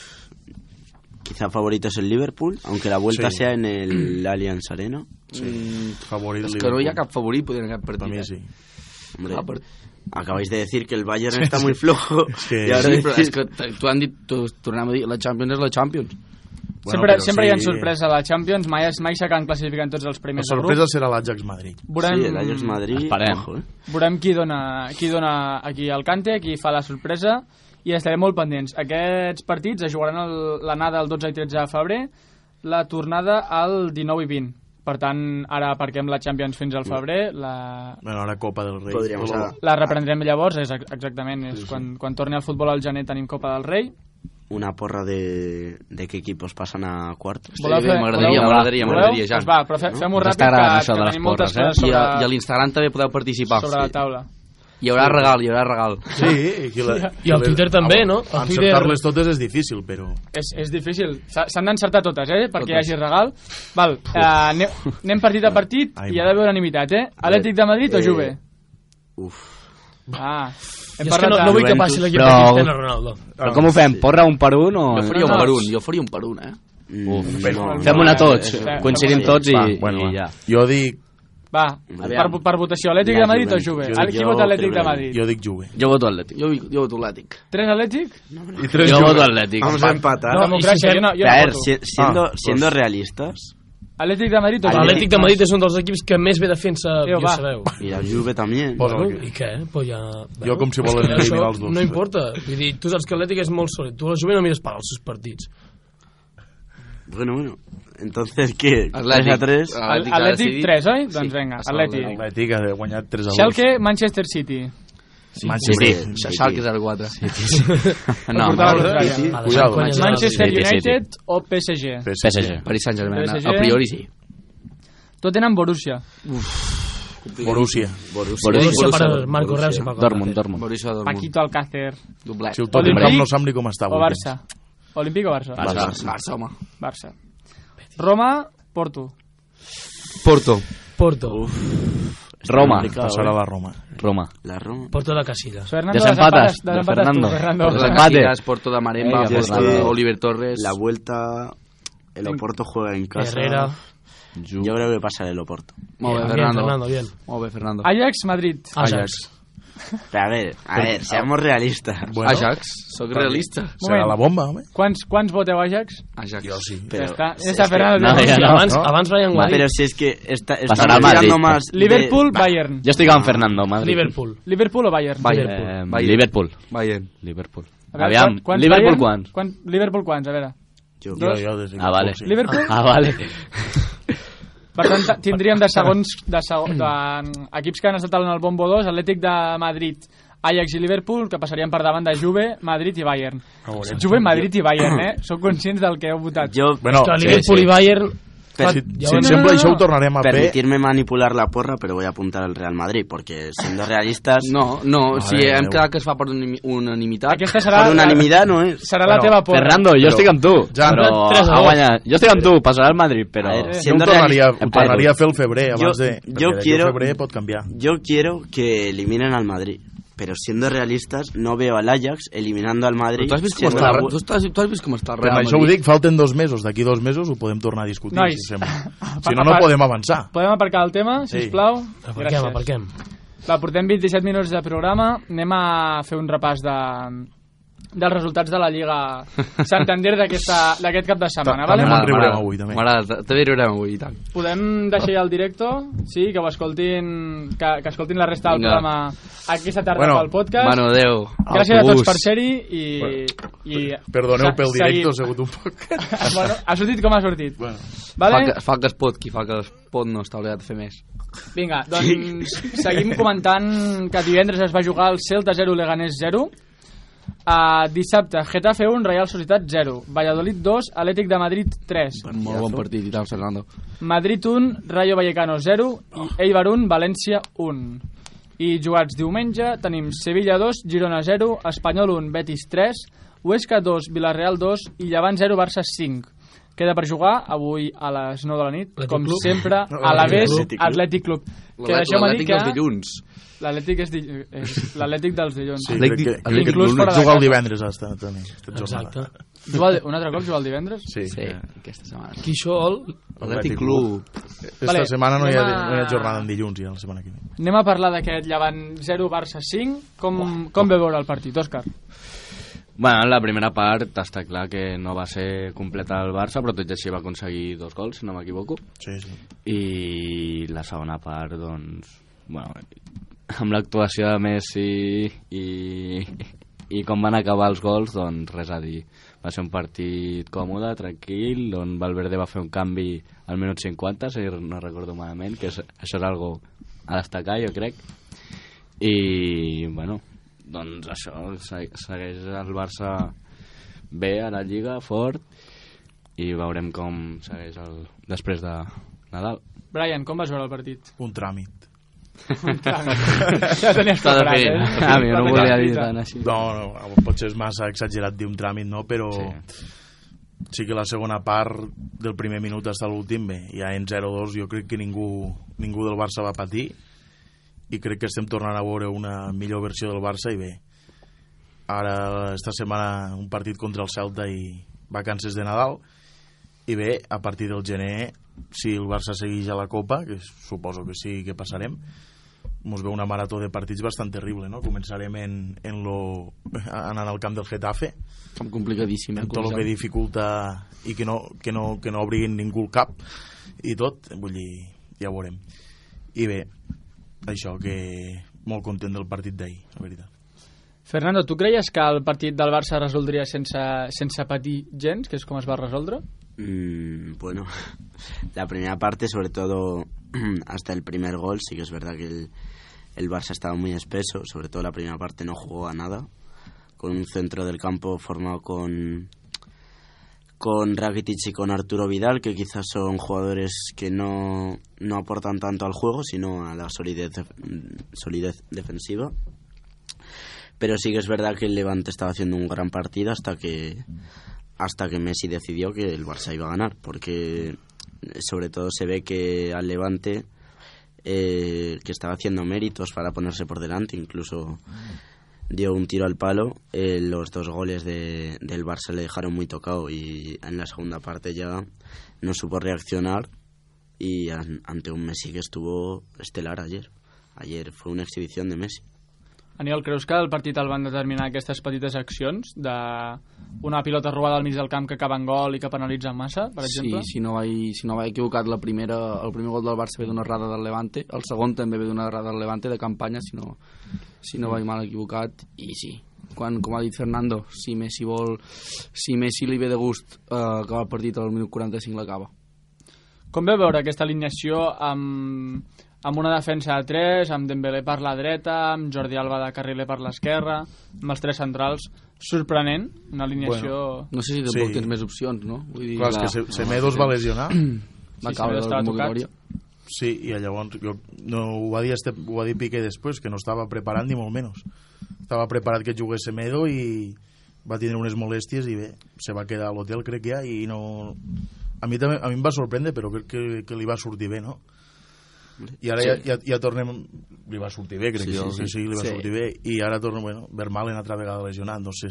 C: quizá favorito es el Liverpool, aunque la vuelta
E: Sí.
C: sea en el Allianz Arena.
D: Mm,
E: Favorit
D: és que no hi ha
E: Liverpool.
D: cap favorit, podria haver cap
E: Per
D: partit.
E: mi sí.
D: eh?
C: Hombre,
D: Ah, per-
C: acabáis de decir que el Bayern está muy flojo.
E: Sí.
C: Y ahora
D: Sí, però
C: decís-
D: és que t- t'ho han dit, t'ho tornem a dir, la Champions és la Champions.
E: Bueno,
A: sempre
E: però
A: sempre hi ha
E: sí.
A: sorpresa a la Champions, mai, es- mai s'acaben classificant tots els
E: La
A: primers del
E: sorpresa
A: grup.
E: serà l'Ajax Madrid.
A: Veurem,
C: Sí, el Ajax Madrid.
F: Esperem.
C: ojo, eh.
A: veurem qui, dona, qui dona aquí el cante, qui fa la sorpresa i estarem molt pendents. Aquests partits es jugaran el- l'anada el 12 i 13 de febrer, la tornada al 19 i 20. Per tant, ara aparquem la Champions fins al febrer, la,
E: Bueno, ara Copa del Rei.
C: Podríamos
E: Però-
C: a-
A: la reprendrem llavors, és ex- exactament, és quan, quan torni al futbol al gener tenim Copa del Rei.
C: una porra de, de qué equipos pasan a cuartos.
D: Voleu
A: fer-
D: M'agradaria,
A: voleu?
D: m'agradaria,
A: Voleu?
D: m'agradaria, Jan.
A: Doncs va, però fe, fem-ho
F: Ens
A: ràpid,
F: està agradant
A: que,
F: això de
A: que
F: les
A: tenim moltes
F: porres, eh?
A: coses
D: I
A: sobre,
D: a, i a l'Instagram també podeu participar.
A: sobre la taula.
D: Hi haurà regal, hi haurà regal.
E: Sí, i, la,
B: I el Twitter també, no? El Twitter-
E: Encertar-les totes és difícil, però...
A: És, és difícil. S'ha- S'han d'encertar totes, eh? Perquè hi
D: Totes.
A: hagi regal. Val, eh, anem, anem partit a partit
E: Ai,
A: i hi ha d'haver unanimitat, eh? Atlètic de Madrid o
C: Eh,
A: Juve?
C: Uf.
A: Ah,
B: I és que no, no vull que passi l'equip de
F: Però-
B: Cristiano Ronaldo.
F: Però com ho fem? Porra un per un o...
D: Jo faria
A: No,
D: un
A: no,
D: per
A: és-
D: un, jo faria un per un, eh?
C: Uf,
E: Però-
F: Fem una tots,
A: Fem-
F: coincidim
A: fem-
F: tots i,
E: Va, bueno,
F: i ja.
E: va. Jo dic,
A: Va, per,
C: Aviam.
A: per votació, Atlètic
C: Ja,
A: de Madrid o Juve?
C: Juventus.
E: Jo-
A: Qui
C: jo,
A: vota Atlètic de
C: Juventus.
A: Madrid?
E: jo dic Juve.
F: Jo voto Atlètic.
D: Jo, jo voto l'Àtic.
A: Tres Atlètic?
E: I tres
F: Jo
E: Juve.
F: voto Atlètic.
C: Vamos a empatar.
A: No,
B: No, i si
A: democràcia,
B: fem-
A: jo no, jo
C: A
A: no
C: ver,
A: voto.
C: si- siendo,
E: Ah,
C: siendo
E: pues-
C: realistas,
A: Atlètic de Madrid...
C: Atlètic.
B: L'Atlètic de Madrid és un dels equips que més bé defensa,
A: Tio,
B: ja
A: va.
B: ho sabeu.
C: Y la Juve también.
E: Posa
B: Bueno,
E: el que...
B: I què? eh? Pues ja...
E: Jo, com si
B: és que
E: volen
B: això
E: eliminar els dos.
B: No importa. Vull dir, tu saps que l'Atlètic és molt sòlid. Tu a la Juve no mires per als seus partits.
C: Bueno, bueno. Entonces, ¿qué?
D: Atlètic.
C: 3 a 3.
D: Ah.
A: Atlètic,
D: Atlètic ha
A: Atlètic
D: decidit.
A: 3, oi? Doncs
D: Sí,
A: vinga,
D: passa
A: Atlètic.
D: l'Atlètic.
E: L'Atlètic ha guanyat 3 a 2.
A: Schalke, Manchester City.
C: Hombre,
E: Manchester.
C: sí,
D: Schalke
C: sí.
D: 04. Sí,
A: No,
F: No,
A: portava
F: no,
A: contrària.
E: sí, sí.
B: A la
E: Cuidado.
B: Champions guanyarà
A: Manchester
F: City, City.
A: United o PSG?
F: PSG.
D: Paris Saint-Germain,
A: PSG.
D: a priori sí.
A: Tottenham, Borussia.
E: Borussia.
C: Borussia.
B: Borussia,
F: Borussia,
B: per
D: Borussia,
B: Marco Reus i Paco
F: Dortmund,
B: Alcácer.
F: Dortmund.
D: Borussia Dortmund.
A: Paquito Alcácer.
D: Doblet.
E: Si el Tottenham
A: Olímpic
E: no sap ni com està.
A: O
E: avui.
A: Barça. Olímpic o Barça?
C: Barça.
D: Barça, home.
A: Barça. Roma, Porto.
D: Porto.
B: Porto.
F: Roma,
E: Passarà doncs, la Roma.
F: Roma.
C: La Roma.
B: Porto de Casillas.
A: Fernando,
F: Desempates,
A: desempates, desempates
F: Fernando.
A: tu, Fernando.
F: Pues
D: Porto
F: empate.
D: de Casillas, Porto de Maremba,
F: Venga,
C: pues
D: Porto
C: nada.
D: de Oliver Torres.
C: La vuelta, el Oporto juega en casa.
B: Herrera.
C: Yo creo que pasa el Oporto.
D: Molt bé,
B: Bien,
D: Fernando.
B: Fernando, bien.
D: Molt bé, Fernando.
A: Ajax, Madrid.
B: Ajax.
C: Pero a ver, a ver, seamos realistas.
E: Bueno,
D: Ajax. Soc realista.
E: serà
A: Moment.
E: la bomba, home.
A: Quants, quants voteu Ajax?
D: Ajax.
E: Jo sí.
A: Ja
C: Pero,
A: està, ja està Fernando.
F: No,
A: Alonso.
F: ja
B: Sí,
F: no.
B: abans,
E: no.
B: abans Ryan
C: Ma,
B: White.
C: pero si es que está, estamos
F: Pasará al
C: tirando
F: Madrid.
C: más. de-
A: Liverpool,
C: Va,
A: Bayern.
F: Jo estic amb Fernando, Madrid.
B: Liverpool.
A: Liverpool o Bayern?
D: Bayern.
F: Eh,
D: Bayern.
F: Liverpool.
D: Bayern.
F: Liverpool.
A: A veure,
F: Aviam,
A: quan- quants
F: Liverpool
A: Bayern?
F: quants?
A: Quan, Liverpool quants, a veure.
C: Yo,
E: Jo, jo, des de
F: Ah, vale.
E: Sí.
A: Liverpool?
F: Ah, vale.
A: Per tant, ta- tindríem de segons de, segon, de mm, equips que han estat en el Bombo 2, Atlètic de Madrid, Ajax i Liverpool, que passarien per davant de Juve, Madrid i Bayern. Juve, Madrid i Bayern, eh? Sou conscients del que heu votat.
C: yo
E: Bueno,
B: Que
E: si,
B: Liverpool i Bayern...
C: Però
B: fa-
E: si,
B: ja
E: si
B: ho-
E: et
A: no,
E: sembla,
A: no, no.
E: això ho tornarem a fer.
C: permitirme manipular la porra, pero voy a apuntar al Real Madrid, porque siendo realistas,
D: No, no, si
E: Mare
D: hem
E: meva.
D: quedat que es fa per unanimi- unanimitat.
A: Aquesta serà,
C: por
A: la,
C: unanimidad no es.
A: serà la
E: Bueno,
A: teva porra.
F: Fernando, jo estic amb tu.
E: Ja,
F: però
B: tres a
F: ha
B: dos.
F: guanyat. Jo estic amb tu, passarà al Madrid, però...
C: A ver,
E: Jo ho
C: siendo
E: tornaria, ho
C: realistas.
E: tornaria a fer el febrer, abans
C: Jo-
E: de...
C: jo
E: perquè d'aquí
C: quiero-
E: al febrer pot canviar.
C: Yo quiero que eliminen al Madrid, pero siendo realistas, no veo al Ajax eliminando al Madrid.
D: Però tu has vist com
C: siendo
D: està,
C: la-
D: tu estàs, tu has vist com està el
E: Però
D: Real
E: això ho
D: Madrid?
E: dic, falten dos mesos. D'aquí dos mesos ho podem tornar a discutir,
A: Nois.
E: si sembla. Si no, no podem avançar.
A: Podem aparcar el tema,
E: Sí.
A: sisplau?
B: Aparquem, aparquem.
A: Va, portem 27 minuts de programa. Anem a fer un repàs de, dels resultats de la Lliga Santander d'aquesta- d'aquest cap de setmana.
E: Ta-
A: Vale?
E: També
D: M'agrada,
E: en riurem
D: m'agrada.
E: avui, també.
D: M'agrada, també riurem avui, i tant.
A: Podem deixar ja el directo? Sí, que ho escoltin, que, que escoltin la resta del
D: Vinga.
A: programa aquesta tarda
E: Bueno,
A: pel podcast.
D: Bueno, adeu.
A: Gràcies a tots
D: Autobús.
A: per ser-hi i, i...
E: Perdoneu
A: se-
E: pel directe, ha
A: seguim.
E: sigut un poc...
A: bueno, ha sortit com ha sortit.
E: Bueno.
A: Vale?
D: Fa, que, fa que es pot, qui fa que es pot no està obligat de fer més.
A: Vinga, doncs seguim comentant que divendres es va jugar el Celta 0, Leganés 0. Uh, dissabte, Getafe 1, Real Societat 0. Valladolid 2, Atlètic de Madrid 3.
D: Molt bon partit, i tant, Fernando.
A: Madrid 1, Rayo Vallecano 0 i Eibar 1, València 1. I jugats diumenge tenim Sevilla 2, Girona 0, Espanyol 1, Betis 3, Huesca 2, Villarreal 2 i Llevant 0, Barça 5. Queda per jugar avui a les 9 de la nit,
B: Atlètic
A: com
B: Club.
A: sempre, a la vés
E: Atlètic Club.
A: Atlètic Club. Que
D: L'Atlètic
A: deixeu-me dir
D: dels
A: que
D: dilluns.
A: l'Atlètic és, di- és l'Atlètic dels dilluns.
E: Sí,
A: Sí.
E: crec que, crec que
A: Inclús
E: tu
A: fora de
E: juga
A: casa.
E: el divendres, hasta, també. Aquesta jornada.
B: Exacte.
A: un altre cop jugar el divendres?
E: Sí. eh,
D: Sí, aquesta setmana.
B: Quixol,
E: Atlètic
D: Atlètic
E: Club.
D: Club.
E: Aquesta
A: Vale,
E: setmana no hi, ha,
A: anem a-
E: no hi ha jornada en dilluns, ja la setmana que ve.
A: Anem a parlar d'aquest Llevant 0, Barça 5. Com, com ve veure el partit, Òscar?
F: Bueno, la primera part està clar que no va ser completa el Barça, però tot i així va aconseguir dos gols, si no m'equivoco.
E: Sí, sí.
F: I la segona part, doncs... Bueno, amb l'actuació de Messi i, i com van acabar els gols, doncs res a dir. Va ser un partit còmode, tranquil, on Valverde va fer un canvi al minut 50, si no recordo malament, que és, això és algo a destacar, jo crec. I, bueno, doncs això, se- segueix el Barça bé a la Lliga, fort, i veurem com segueix el, després de Nadal.
A: Brian, com vas veure el partit?
E: Un tràmit.
A: ja tenies
D: Està
A: preparat,
D: definit.
A: eh?
F: Ah, mi
A: Està
F: no volia
A: definit.
F: dir tant així.
E: No, no, potser és massa exagerat dir un tràmit, no? Però sí, sí que la segona part del primer minut fins a l'últim, bé, ja en 0-2 jo crec que ningú, ningú del Barça va patir i crec que estem tornant a veure una millor versió del Barça i bé, ara esta setmana un partit contra el Celta i vacances de Nadal i bé, a partir del gener si el Barça segueix a la Copa que suposo que sí que passarem mos ve una marató de partits bastant terrible, no? Començarem en, en lo, anant al camp del Getafe,
D: Camp complicadíssim, eh?
E: amb tot el que dificulta i que no, que no, que no obriguin ningú el cap i tot, vull dir, ja ho veurem. I bé, això que molt content del partit d'ahir, la veritat.
A: Fernando, tu creies que el partit del Barça es resoldria sense, sense patir gens, que és com es va resoldre?
C: Mm, bueno, la primera parte, sobre todo hasta el primer gol, sí que es verdad que el, el Barça estaba muy espeso, sobre todo la primera parte no jugó a nada, con un centro del campo formado con con Rakitic y con Arturo Vidal, que quizás son jugadores que no, no aportan tanto al juego, sino a la solidez, def- solidez defensiva. Pero sí que es verdad que el Levante estaba haciendo un gran partido hasta que hasta que Messi decidió que el Barça iba a ganar, porque eh, sobre todo se ve que al Levante eh, que estaba haciendo méritos para ponerse por delante, incluso dio un tiro al palo, eh, los dos goles de- del Barça le dejaron muy tocado y en la segunda parte ya no supo reaccionar y an- ante un Messi que estuvo estelar ayer. Ayer fue una exhibición de Messi.
A: Aniol, creus que el partit el van determinar aquestes petites accions de una pilota robada al mig del camp que acaba en gol i que penalitza en massa, per exemple?
D: Sí, si no vaig, si no vaig equivocat, la primera, el primer gol del Barça ve d'una errada del Levante, el segon també ve d'una errada del Levante de campanya, si no, si no vaig mal equivocat, i sí. Quan, com ha dit Fernando, si Messi vol, si Messi li ve de gust eh, acabar el partit al minut 45 l'acaba.
A: Com veu veure aquesta alineació amb, amb una defensa de 3, amb Dembélé per la dreta, amb Jordi Alba de Carriler per l'esquerra, amb els tres centrals? Sorprenent, una alineació... Bueno.
D: No sé si tampoc
E: Sí.
D: sí. tens més opcions, no? Vull dir,
E: Clar, és que se- Semedos va lesionar,
D: va
A: Sí,
D: caure
A: Semedo
D: de
A: estava tocat.
D: la convocatòria.
E: sí, i llavors jo, no, ho, va dir este, ho va dir Piqué després, que no estava preparat ni molt menys. Estava preparat que jugués Semedo i va tindre unes molèsties i bé, se va quedar a l'hotel crec ja i no... A mi, també, a mi em va sorprendre, però crec que, que li va sortir bé, no? I ara sí. ja, ja, ja tornem... Li va sortir bé, crec sí, jo, sí, que sí, li va sí. sortir bé. I ara torna, bueno, Vermalen altra vegada lesionat, no sé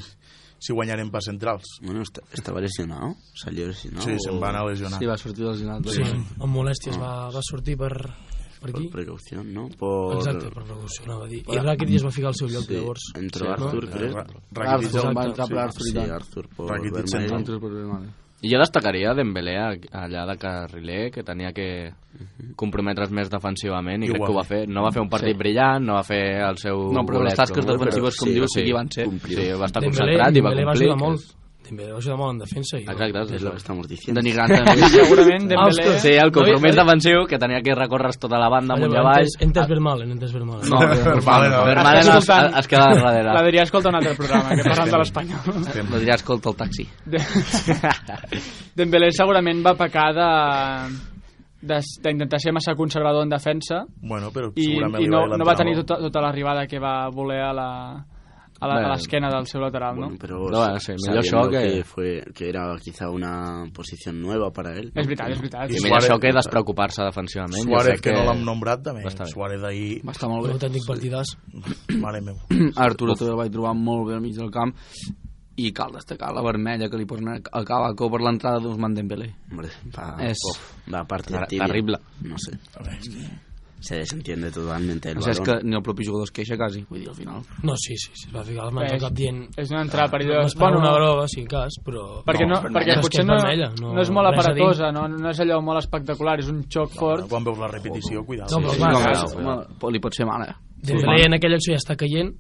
E: si guanyarem pas centrals.
C: Bueno, est- estaba lesionado, salió lesionado.
E: sí, se'n va anar a lesionar.
D: Sí, va sortir lesionat.
B: Sí, amb molèsties va, va sortir per, per
C: Por
B: aquí.
C: precaución, ¿no? Por...
B: Exacte, per precaució, anava a dir. I Rakitic es va ficar al seu lloc,
C: Sí,
B: llavors.
C: entró Arthur,
E: Eh,
C: creo. Ah,
E: Ra- Rakitic
D: Arthur,
E: el-
D: va entrar per Arthur i
C: Sí,
D: tant.
C: Arthur por
E: Rakitic
C: Vermeer.
E: central.
D: Entra per Vermaelen.
F: I jo destacaria Dembélé a- allà de carriler, que tenia que comprometre's més defensivament i,
E: I
F: I
E: ho
F: crec
E: va
F: que ho va fer. No va fer un partit sí. brillant, no va fer el seu...
D: No, però
F: bolet,
D: les tasques
F: com-
D: defensives, com
F: sí,
D: dius,
F: o
D: sí que hi van ser.
F: Complir. Sí, va estar
B: Dembélé,
F: concentrat i va
B: Dembélé va
F: complir.
B: ajudar molt. Dembélé va ajudar molt en defensa. I
F: Exacte,
C: Es
F: és
C: lo
F: el
C: que
F: que
C: estamos diciendo.
D: Denigrant també.
A: Segurament
D: Ah,
A: Dembélé...
B: Ostres,
F: Sí, el compromís
B: No, eh,
F: defensiu, que tenia que recórrer tota la banda amunt i avall.
B: Entes, entes Vermalen, entes Vermalen.
D: No, eh,
E: Vermaelen, no.
F: Vermaelen es,
A: Escoltant.
F: es queda darrere.
A: L'Adrià escolta un altre programa, que parlen de l'Espanyol.
D: Lo dirà, escolta, el taxi.
A: De- Dembélé segurament va pecar de de- d'intentar ser massa conservador en defensa
E: Bueno, però
A: i,
E: segurament
A: i
E: li
A: no,
E: va
A: no va tenir tota, tota l'arribada que va voler a la- a la- a
F: Bé.
A: l'esquena del seu lateral, no?
C: Bueno, pero
F: No, bueno, sí,
C: sabiendo
F: millor això que-
C: fue, que era quizá una posición nueva para él. ¿no?
A: És veritat, és veritat.
E: I
F: I
E: Suárez-
F: millor això que despreocupar-se defensivament. Jo
E: Suárez,
F: crec
E: que, no l'hem nombrat, també.
F: va estar bé.
E: Suárez ahir,
D: Va estar molt
B: Un
D: bé.
B: autèntic partidàs.
E: mare meu.
D: Arturo també el vaig trobar molt bé al mig del camp i cal destacar la vermella que li posen a Cavaco per l'entrada d'Usman Dembélé.
C: Hombre, va,
D: Es-
C: uf, va parte
F: Ter-
C: tibia.
F: terrible.
C: No sé. Se desentiende totalmente el
D: O sigui, és
C: balón.
D: que ni el propi jugador es queixa quasi, vull dir, al final.
B: No, sí, sí, sí, es va ficar les mans
A: Bé,
B: al cap dient...
A: És una entrada
E: Ah,
B: No
A: perillosa.
B: es bueno, una groga, si en cas, però...
A: perquè, no,
D: vermella.
A: perquè
B: És que
A: potser
B: és
A: no,
B: vermella,
A: no,
B: no-
A: és molt
B: res a dir.
A: aparatosa, no, no és allò molt espectacular, és un xoc fort.
E: Quan veus la repetició, cuidado.
B: No, però
E: Sí,
B: clar,
D: no,
E: sí, sí.
A: clar,
D: però, home, pot- li pot ser mal, eh?
B: Dembélé en aquella acció ja està caient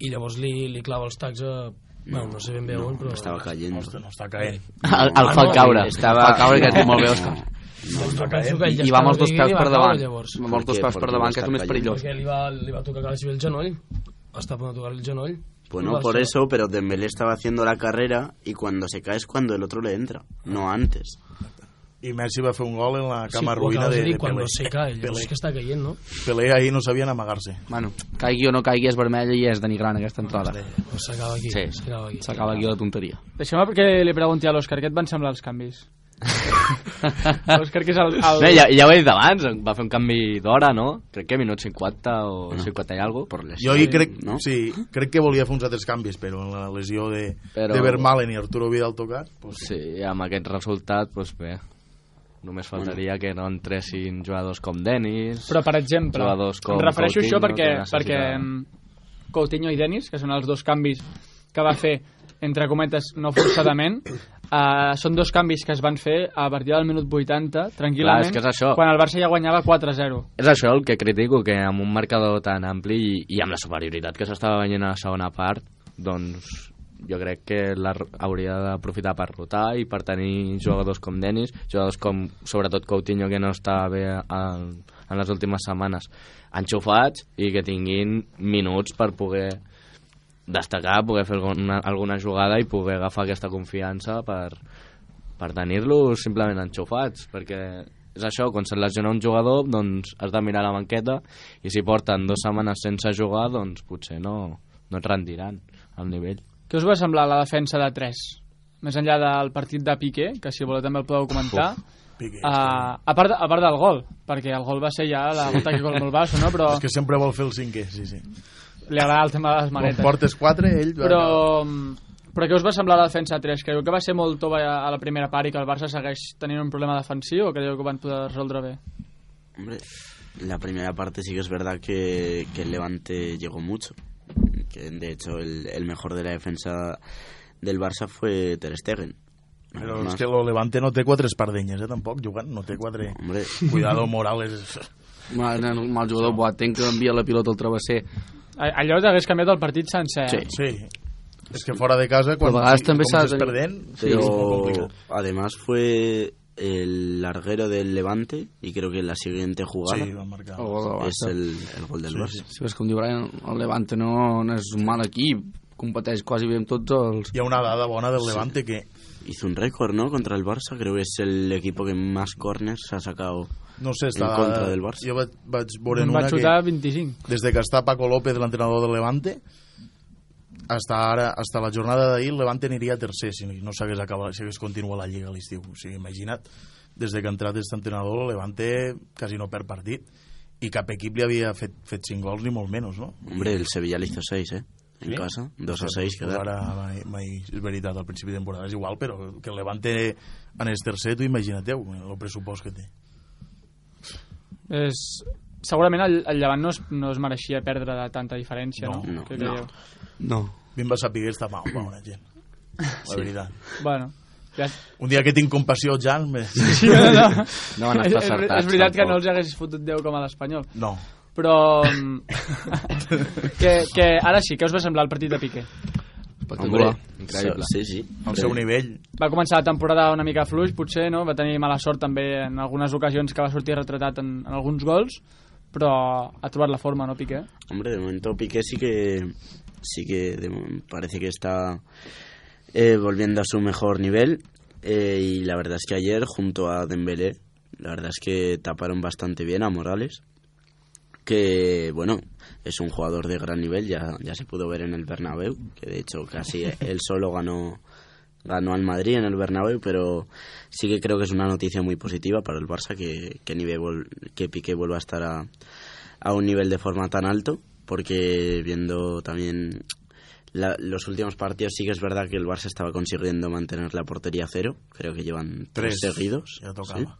B: i llavors li, li clava els tacs a... Bueno, no sé ben bé on, però...
C: Estaba cayendo.
E: Hòstia, no està caent.
F: El, el fa caure.
D: Estava... Fa caure, que et diu molt bé, Òscar.
B: Però penso que ell ja
D: I va amb
B: estava
D: els dos
B: caient
D: peus
B: i va
D: per
B: caure,
D: davant.
B: Llavors.
D: Amb els dos
C: Perquè-
D: peus per
C: perquè
D: davant,
C: està
D: que és el més
C: caient.
D: perillós.
B: Perquè li va, li va tocar quasi bé el genoll, està a punt de tocar el genoll.
C: Bueno, por eso, pero Dembélé estaba haciendo la carrera y cuando se cae es cuando el otro le entra, no antes.
E: I Messi va fer un gol en la cama
B: ho
E: ruïna
B: acabes
E: de,
B: dir,
E: de
B: quan
E: Pelé.
B: no sé cae, llavors
E: Pelé.
B: és que està caient, no?
E: Pelé ahir no sabien amagar-se.
D: Bueno, caigui o no caigui, és vermella i és denigrant aquesta entrada.
B: Doncs s'acaba aquí,
D: Sí.
B: s'acaba aquí.
D: S'acaba aquí la tonteria.
A: Deixem que li pregunti a l'Òscar què et van semblar els canvis. L'Òscar, que és el... el...
F: Bé, ja, ja ho he dit abans, va fer un canvi d'hora, no? Crec que minut 50 o 50 i alguna
C: Por les-
E: Jo ahir crec,
C: no?
E: sí, crec que volia fer uns altres canvis, però en la lesió de,
F: Però-
E: de Vermaelen i Arturo Vidal tocat, pues,
F: Sí, amb aquest resultat, doncs bé. Només faltaria que no entressin jugadors com Denis...
A: Però, per exemple,
F: Jugadors com
A: em refereixo a això
F: Coutinho,
A: perquè,
F: que necessita-
A: perquè mm, Coutinho i Denis, que són els dos canvis que va fer, entre cometes, no forçadament, eh, són dos canvis que es van fer a partir del minut 80, tranquil·lament,
F: Clar, és que és això.
A: quan el Barça ja guanyava 4-0.
F: És això el que critico, que amb un marcador tan ampli i, i amb la superioritat que s'estava veient a la segona part, doncs jo crec que la, hauria d'aprofitar per rotar i per tenir jugadors com Denis, jugadors com sobretot Coutinho que no està bé en, en les últimes setmanes, enxufats i que tinguin minuts per poder destacar, poder fer alguna, alguna jugada i poder agafar aquesta confiança per, per tenir-los simplement enxufats, perquè és això, quan se't lesiona un jugador, doncs has de mirar la banqueta i si porten dues setmanes sense jugar, doncs potser no, no et rendiran al nivell.
A: Què us va semblar la defensa de 3? Més enllà del partit de Piqué, que si voleu també el podeu comentar.
E: Piqué.
B: Ah.
A: Uh, a, part, a part del gol, perquè el gol va ser ja la volta que gol molt basso, no? però
E: És que sempre vol fer el cinquè, sí, sí.
A: li agrada el tema de les
E: Quan
A: manetes.
E: portes quatre, ell... va-
A: però, mm, però què us va semblar la defensa 3? Creieu que va ser molt tova a la primera part i que el Barça segueix tenint un problema defensiu o creieu que ho van poder resoldre bé?
C: Hombre, la primera parte sí que es verdad que, que el Levante llegó mucho. Que de hecho el, el mejor de la defensa del Barça fue Ter Stegen.
E: Però
C: Nada
E: és
C: más.
E: que el Levante no té quatre espardenyes, eh, tampoc, jugant. No té quatre...
C: Hombre,
E: Cuidado, Morales.
D: Mal, mal jugador Boateng que envia la pilota al travesser.
A: A- Allò t'hagués canviat el partit sencer. eh?
D: Sí.
E: Sí. És que fora de casa, quan
D: Però a vegades
E: com
D: també s'ha de
E: estàs
D: tenir-
E: perdent, sí, és molt
C: pero
E: complicat.
C: además fue el larguero del Levante y creo que la siguiente jugada
E: Sí, van marcar.
D: El gol del
C: es
D: Barça.
C: el, el gol del Barça.
D: Si ves com diu Brian, el Levante no, no és un mal equip, competeix quasi bé amb tots els...
E: Hi ha una dada bona del Levante que
C: Hizo un récord, ¿no? Contra el Barça. Creo que es el equipo que más corners ha sacado.
E: no sé, està...
C: contra del Barça.
E: Jo vaig, vaig veure
A: En
E: en una
A: va xutar
E: que
A: 25.
E: des de que està Paco López, l'entrenador del Levante, hasta ara, hasta la jornada d'ahir, el Levante aniria tercer si no s'hagués acabat, si hagués continuat la Lliga a l'estiu. O sigui, imagina't, des de que ha entrat aquest entrenador, el Levante quasi no perd partit i cap equip li havia fet, fet 5 gols ni molt menys, no?
C: Hombre, el Sevilla le hizo 6, ¿eh? En
E: ¿Sí? Pues
C: casa. 2 a 6
E: Però
C: quedaron.
E: Ara mai, mai, és veritat, al principi de temporada és igual, però que el Levante en el tercer, tu imagina't el pressupost que té.
A: És... Segurament el, el Llevant no es, no es mereixia perdre de tanta diferència, no?
C: No, no,
A: Què creieu?
D: No.
E: Vinc va saber estar mal, bona gent. La veritat.
A: Bueno, ja...
E: Un dia que tinc compassió, Jan, me...
A: Sí, no, no.
F: No van
A: és,
F: estar
A: és,
F: acertats,
A: és veritat que
F: tampoc.
A: no els hagués fotut 10 com a l'Espanyol.
E: no.
A: Però... mm, que, que ara sí, què us va semblar el partit de Piqué?
D: Espectacular.
F: increïble.
C: Sí, sí.
E: Al seu nivell,
A: va començar la temporada una mica fluix, potser, no? Va tenir mala sort també en algunes ocasions que va sortir retratat en, en alguns gols, però ha trobat la forma, no, Piqué?
C: Hombre, de momento Piqué sí que sí que de mo- parece que está eh, volviendo a su mejor nivel Eh, y la verdad es que ayer junto a Dembélé la verdad es que taparon bastante bien a Morales que bueno es un jugador de gran nivel ya ya se pudo ver en el Bernabéu que de hecho casi él solo ganó ganó al Madrid en el Bernabéu pero sí que creo que es una noticia muy positiva para el Barça que que, nivel vol- que Piqué vuelva a estar a, a un nivel de forma tan alto, porque viendo también la- los últimos partidos sí que es verdad que el Barça estaba consiguiendo mantener la portería a cero, creo que llevan tres,
E: tres
C: seguidos.
E: Ja tocava.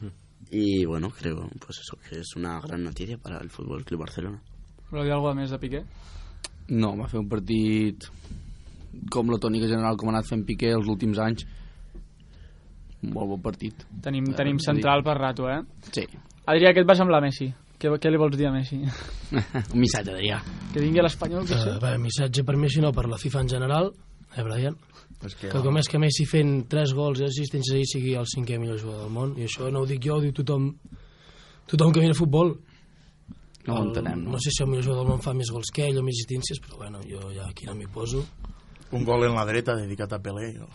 C: ¿sí? Y bueno, creo pues eso que es una gran noticia para el Fútbol Club Barcelona.
A: Voleu dir alguna cosa més de Piqué?
D: No, va fer un partit com la tònica general com ha anat fent Piqué els últims anys. Un molt bon partit.
A: Tenim, tenim central per rato, eh?
D: Sí.
A: Adrià, què et va semblar Messi? Què, què li vols dir a Messi?
D: un missatge, Adrià.
A: Que vingui a l'Espanyol, que
B: Uh,
A: sí?
B: bé, missatge per Messi no, per la FIFA en general, eh, Brian?
E: És que,
B: Que com és que Messi fent 3 gols i assistències ahir sigui el cinquè millor jugador del món, i això no ho dic jo, ho diu tothom, tothom que mira futbol.
D: No ho entenem,
B: no
D: no?
B: sé si el millor jugador del món fa més gols que ell o més assistències, però bueno, jo ja aquí no m'hi poso.
E: un gol en la dreta dedicat a Pelé. Jo.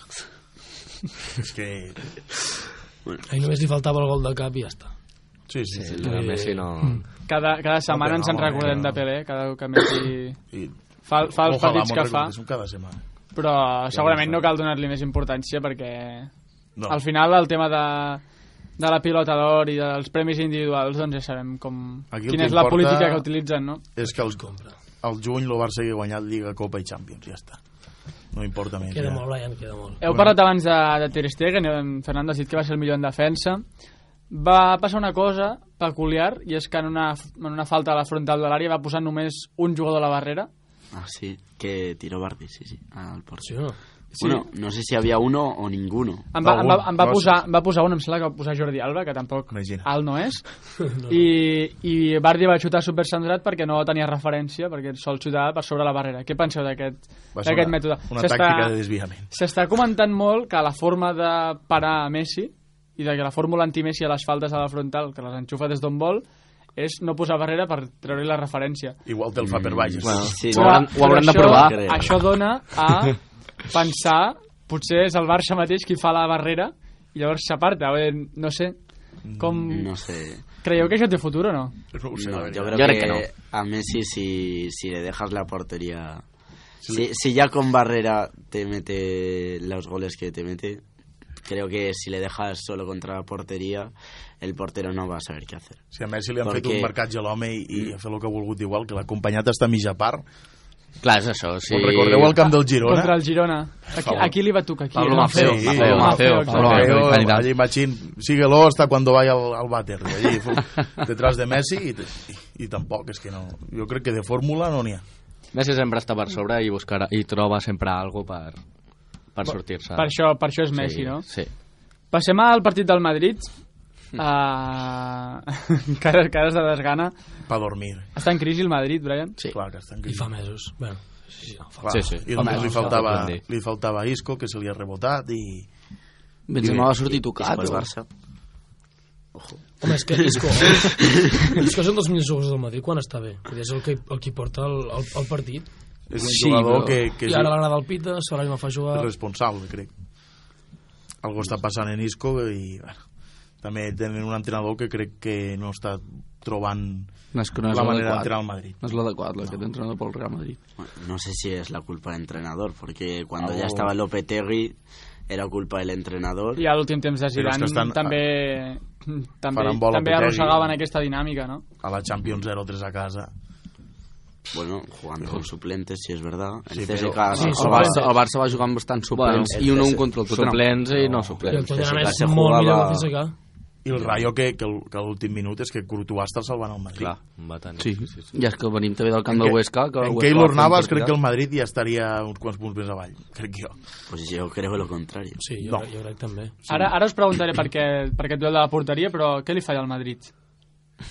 E: és que...
B: Ahir només li faltava el gol de cap i ja està.
E: Sí, sí. sí.
F: El de Messi no...
A: Cada, cada setmana ens en
E: Eh. home,
A: recordem
E: no.
A: de Pelé, cada cop que Messi
E: I,
A: fa, fa els
E: ojalà
A: partits
E: m'ho
A: que fa,
E: recordéssim cada setmana.
A: però segurament no cal donar-li més importància perquè
E: No.
A: al final el tema de de la pilota d'or i dels premis individuals doncs ja sabem com,
E: Aquí el
A: quina
E: que
A: és la
E: importa-
A: política que utilitzen no?
E: És que el, al juny el Barça hi ha guanyat Lliga, Copa i Champions, ja està. no importa més.
B: Queda
E: ja.
B: molt, Brian, queda molt.
A: Heu parlat abans de, de Ter Stegen, eh, Fernando ha dit que va ser el millor en defensa. Va passar una cosa peculiar, i és que en una, en una falta a la frontal de l'àrea va posar només un jugador a la barrera.
C: Ah, sí, que tiró Bardi, sí, sí, al
B: Sí
C: portero.
B: o no?
A: Sí.
C: Bueno, no sé si había uno o ninguno.
A: Em va, em va, em va,
E: Algun,
A: posar, em va posar un, em sembla que va posar Jordi Alba, que tampoc
E: Imagina.
A: alt no és, i, i Bardi va xutar supercentrat perquè no tenia referència, perquè sol xutar per sobre la barrera. Què penseu d'aquest
E: Va ser
A: d'aquest
E: una-
A: mètode?
E: Una
A: S'està-
E: tàctica de desviament.
A: S'està comentant molt que la forma de parar a Messi i de que la fórmula anti-Messi a les faltes a la frontal, que les enxufa des d'on vol, és no posar barrera per treure la referència.
E: Igual te'l fa per baix.
C: Bueno, Ah, sí,
F: Ho hauran-
A: Però
F: ho hauran de
A: això-
F: provar.
C: Crec.
A: Això dona a pensar, potser és el Barça mateix qui fa la barrera i llavors s'aparta. Eh, No sé, com...
C: no sé.
A: Creieu que això té futur o no?
E: No ho sé,
C: No,
E: la
C: yo
E: veritat.
C: creo
F: Yo
C: que,
F: creo que
C: a Messi si, si le dejas la portería... Si, si ya con Barrera te mete los goles que te mete, creo que si le dejas solo contra la portería, el portero no va a saber qué hacer.
E: Si a Messi li han
C: Perquè-
E: fet un marcatge a l'home i, i ha fet el que ha volgut igual, que l'ha acompanyat hasta a mitja part.
F: Clar, és això. Si...
E: Sí. Ho recordeu al camp del Girona?
A: Contra el Girona. Aquí,
E: favor.
A: aquí li va tocar. Aquí,
D: Pablo
A: no?
D: Maceo,
E: Sí,
D: Maceo,
A: Maceo,
D: Maceo,
A: exacte.
D: Pablo Maceo.
E: Pero,
F: calidad.
E: allí Machín, síguelo hasta cuando vaya al, al váter. Allí, fu- detrás de Messi i, i, i tampoc, és que no... Jo crec que de fórmula no n'hi ha.
F: Messi sempre està per sobre i, buscarà, i troba sempre algo per, per sortir-se.
A: Per això, per això és Messi,
F: sí,
A: no?
F: Sí.
A: Passem al partit del Madrid.
E: Hmm.
A: Uh, cares, cares de desgana.
E: Pa dormir.
A: Està en crisi el Madrid, Brian?
F: Sí.
E: Clar, que estan
B: I fa mesos. Bueno, sí, sí, no, fa...
E: Clar,
F: Sí, sí.
E: I
F: Home,
E: només li
F: no,
E: faltava,
F: no puc dir.
E: li faltava Isco, que se li ha rebotat, i...
D: Benzema va sortir tocat.
C: Isco al
D: o?
C: Pues Barça.
B: Home, és que Isco... Isco és un dels millors jugadors del Madrid quan està bé. Vull dir, És el que, el que porta el, el, el partit.
E: És un
D: Sí,
E: jugador
D: però-
E: que, que
B: I
E: és
B: ara l'anada del Pita, Solari no fa jugar...
E: responsable, crec. Algo està passant en Isco i, bueno, també tenen un entrenador que crec que no està trobant
D: No, és que no és
E: la manera
D: l'adequat.
E: d'entrar al Madrid.
D: No és l'adequat, l'aquest entrenador pel Real Madrid.
C: Bueno, No sé si es la culpa del entrenador, porque cuando
E: Ah,
C: ya estaba Lopetegui era culpa del entrenador.
A: I a l'últim temps de
E: Però és
A: Zidane
E: que estan- ah.
A: també, també,
E: faran bola
A: també
E: Piqué i-
A: arrossegaven aquesta dinàmica, no?
E: A la Champions 0-3 a casa.
C: Bueno, jugando con suplentes, si es verdad. El
E: Sí,
C: CSKA
E: pero-
C: no
B: Sí,
D: El
C: jugaba.
D: Barça, el Barça va jugar amb bastants suplents
C: Bueno,
D: i un a un
C: el-
D: contra el Tottenham.
E: eh.
F: Suplents i no
B: I el
F: suplents.
B: Tottenham
C: sí,
B: és
C: clar, se
B: molt millor
C: jugava-
B: que el CSKA.
E: I el Rayo que, que, el- que a l'últim minut és que Courtois està salvant el Madrid.
F: Clar, va tenir.
D: Sí, i és que venim també del camp del
E: Que-
D: Huesca. Que el
E: en
D: Huesca va
E: Keylor
D: fer un
E: Navas crec
D: partidat.
E: que el Madrid ja estaria uns quants punts més avall, crec jo.
C: Pues yo creo lo contrario.
B: Sí, jo,
E: No.
B: no. jo crec també.
A: Ara, ara us preguntaré per, què, per aquest duel de la porteria, però què li falla al Madrid?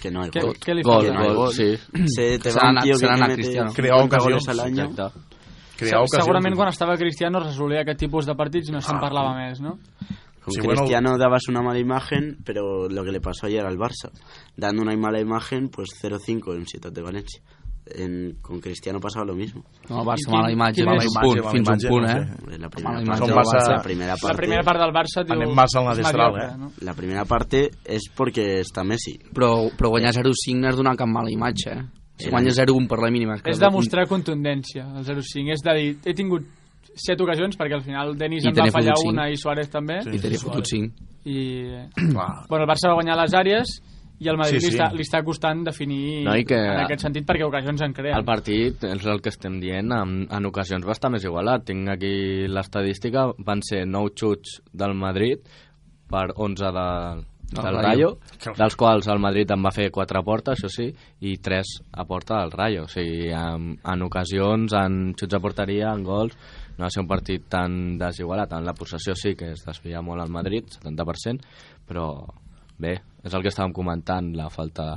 C: Que no hay
A: Què,
C: gol.
A: què li
F: Gol,
A: falla?
C: no hay
F: gol, sí.
C: Se te
D: Se
C: va
D: n'ha
C: un tío
D: anat- se n'ha
C: que
D: anat
C: te mete
D: Cristiano.
C: 50
E: Creado
C: goles al
E: ocasions.
C: año.
F: Exacte.
E: Crear ocasions. Ah,
A: Segurament quan estava Cristiano es resolia aquest tipus de partits i no se'n parlava més, no?
C: Con
E: Sí, bueno-
C: Cristiano dabas una mala imagen, pero lo que le pasó ayer al Barça. Dando una mala imagen, pues 0-5 en Ciutat de Valencia. En- con Cristiano pasaba lo mismo.
D: No, el Barça,
A: Quin-
D: mala imatge,
A: quin
D: mala
A: és?
D: imatge,
E: Mala
D: fins a un
E: imatge,
D: punt,
E: no
D: eh?
E: sé.
C: La primera,
D: Mala
C: parte,
D: imagen
E: del Barça.
C: la primera
A: La
C: parte-
A: primera part del Barça diu,
E: Anem massa al
A: és
E: nadestral,
A: mediocre,
E: eh?
A: no?
C: la primera parte es porque está Messi.
D: Però, però guanyar 0-5 no és donar cap mala imatge, eh? Si
C: Era-
D: guanyes 0-1 per la mínima... que-
A: És demostrar contundència, el 0-5. És de dir, he tingut set ocasions, perquè al final Denis
D: I
A: en va
D: tenia
A: fallar
D: fotut cinc.
A: una i Suárez també,
E: Sí.
D: I t'hauria fotut 5.
A: i
E: Clar.
A: bueno, el Barça va guanyar les àrees i el Madrid
E: Sí, sí.
A: Li, està, li està costant definir
F: No, i que-
A: en aquest sentit perquè ocasions en creen.
F: El partit és el que estem dient, en, en ocasions va estar més igualat. Tinc aquí l'estadística, van ser 9 xuts del Madrid per 11 de,
D: Del
F: del Rayo,
D: Rayo.
F: dels quals el Madrid en va fer 4 a porta, això sí, i 3 a porta del Rayo. O sigui, en, en ocasions, en xuts a porteria, en gols, no va ser un partit tan desigualat. En la possessió sí que es desvia molt al Madrid, 70%, però bé, és el que estàvem comentant, la falta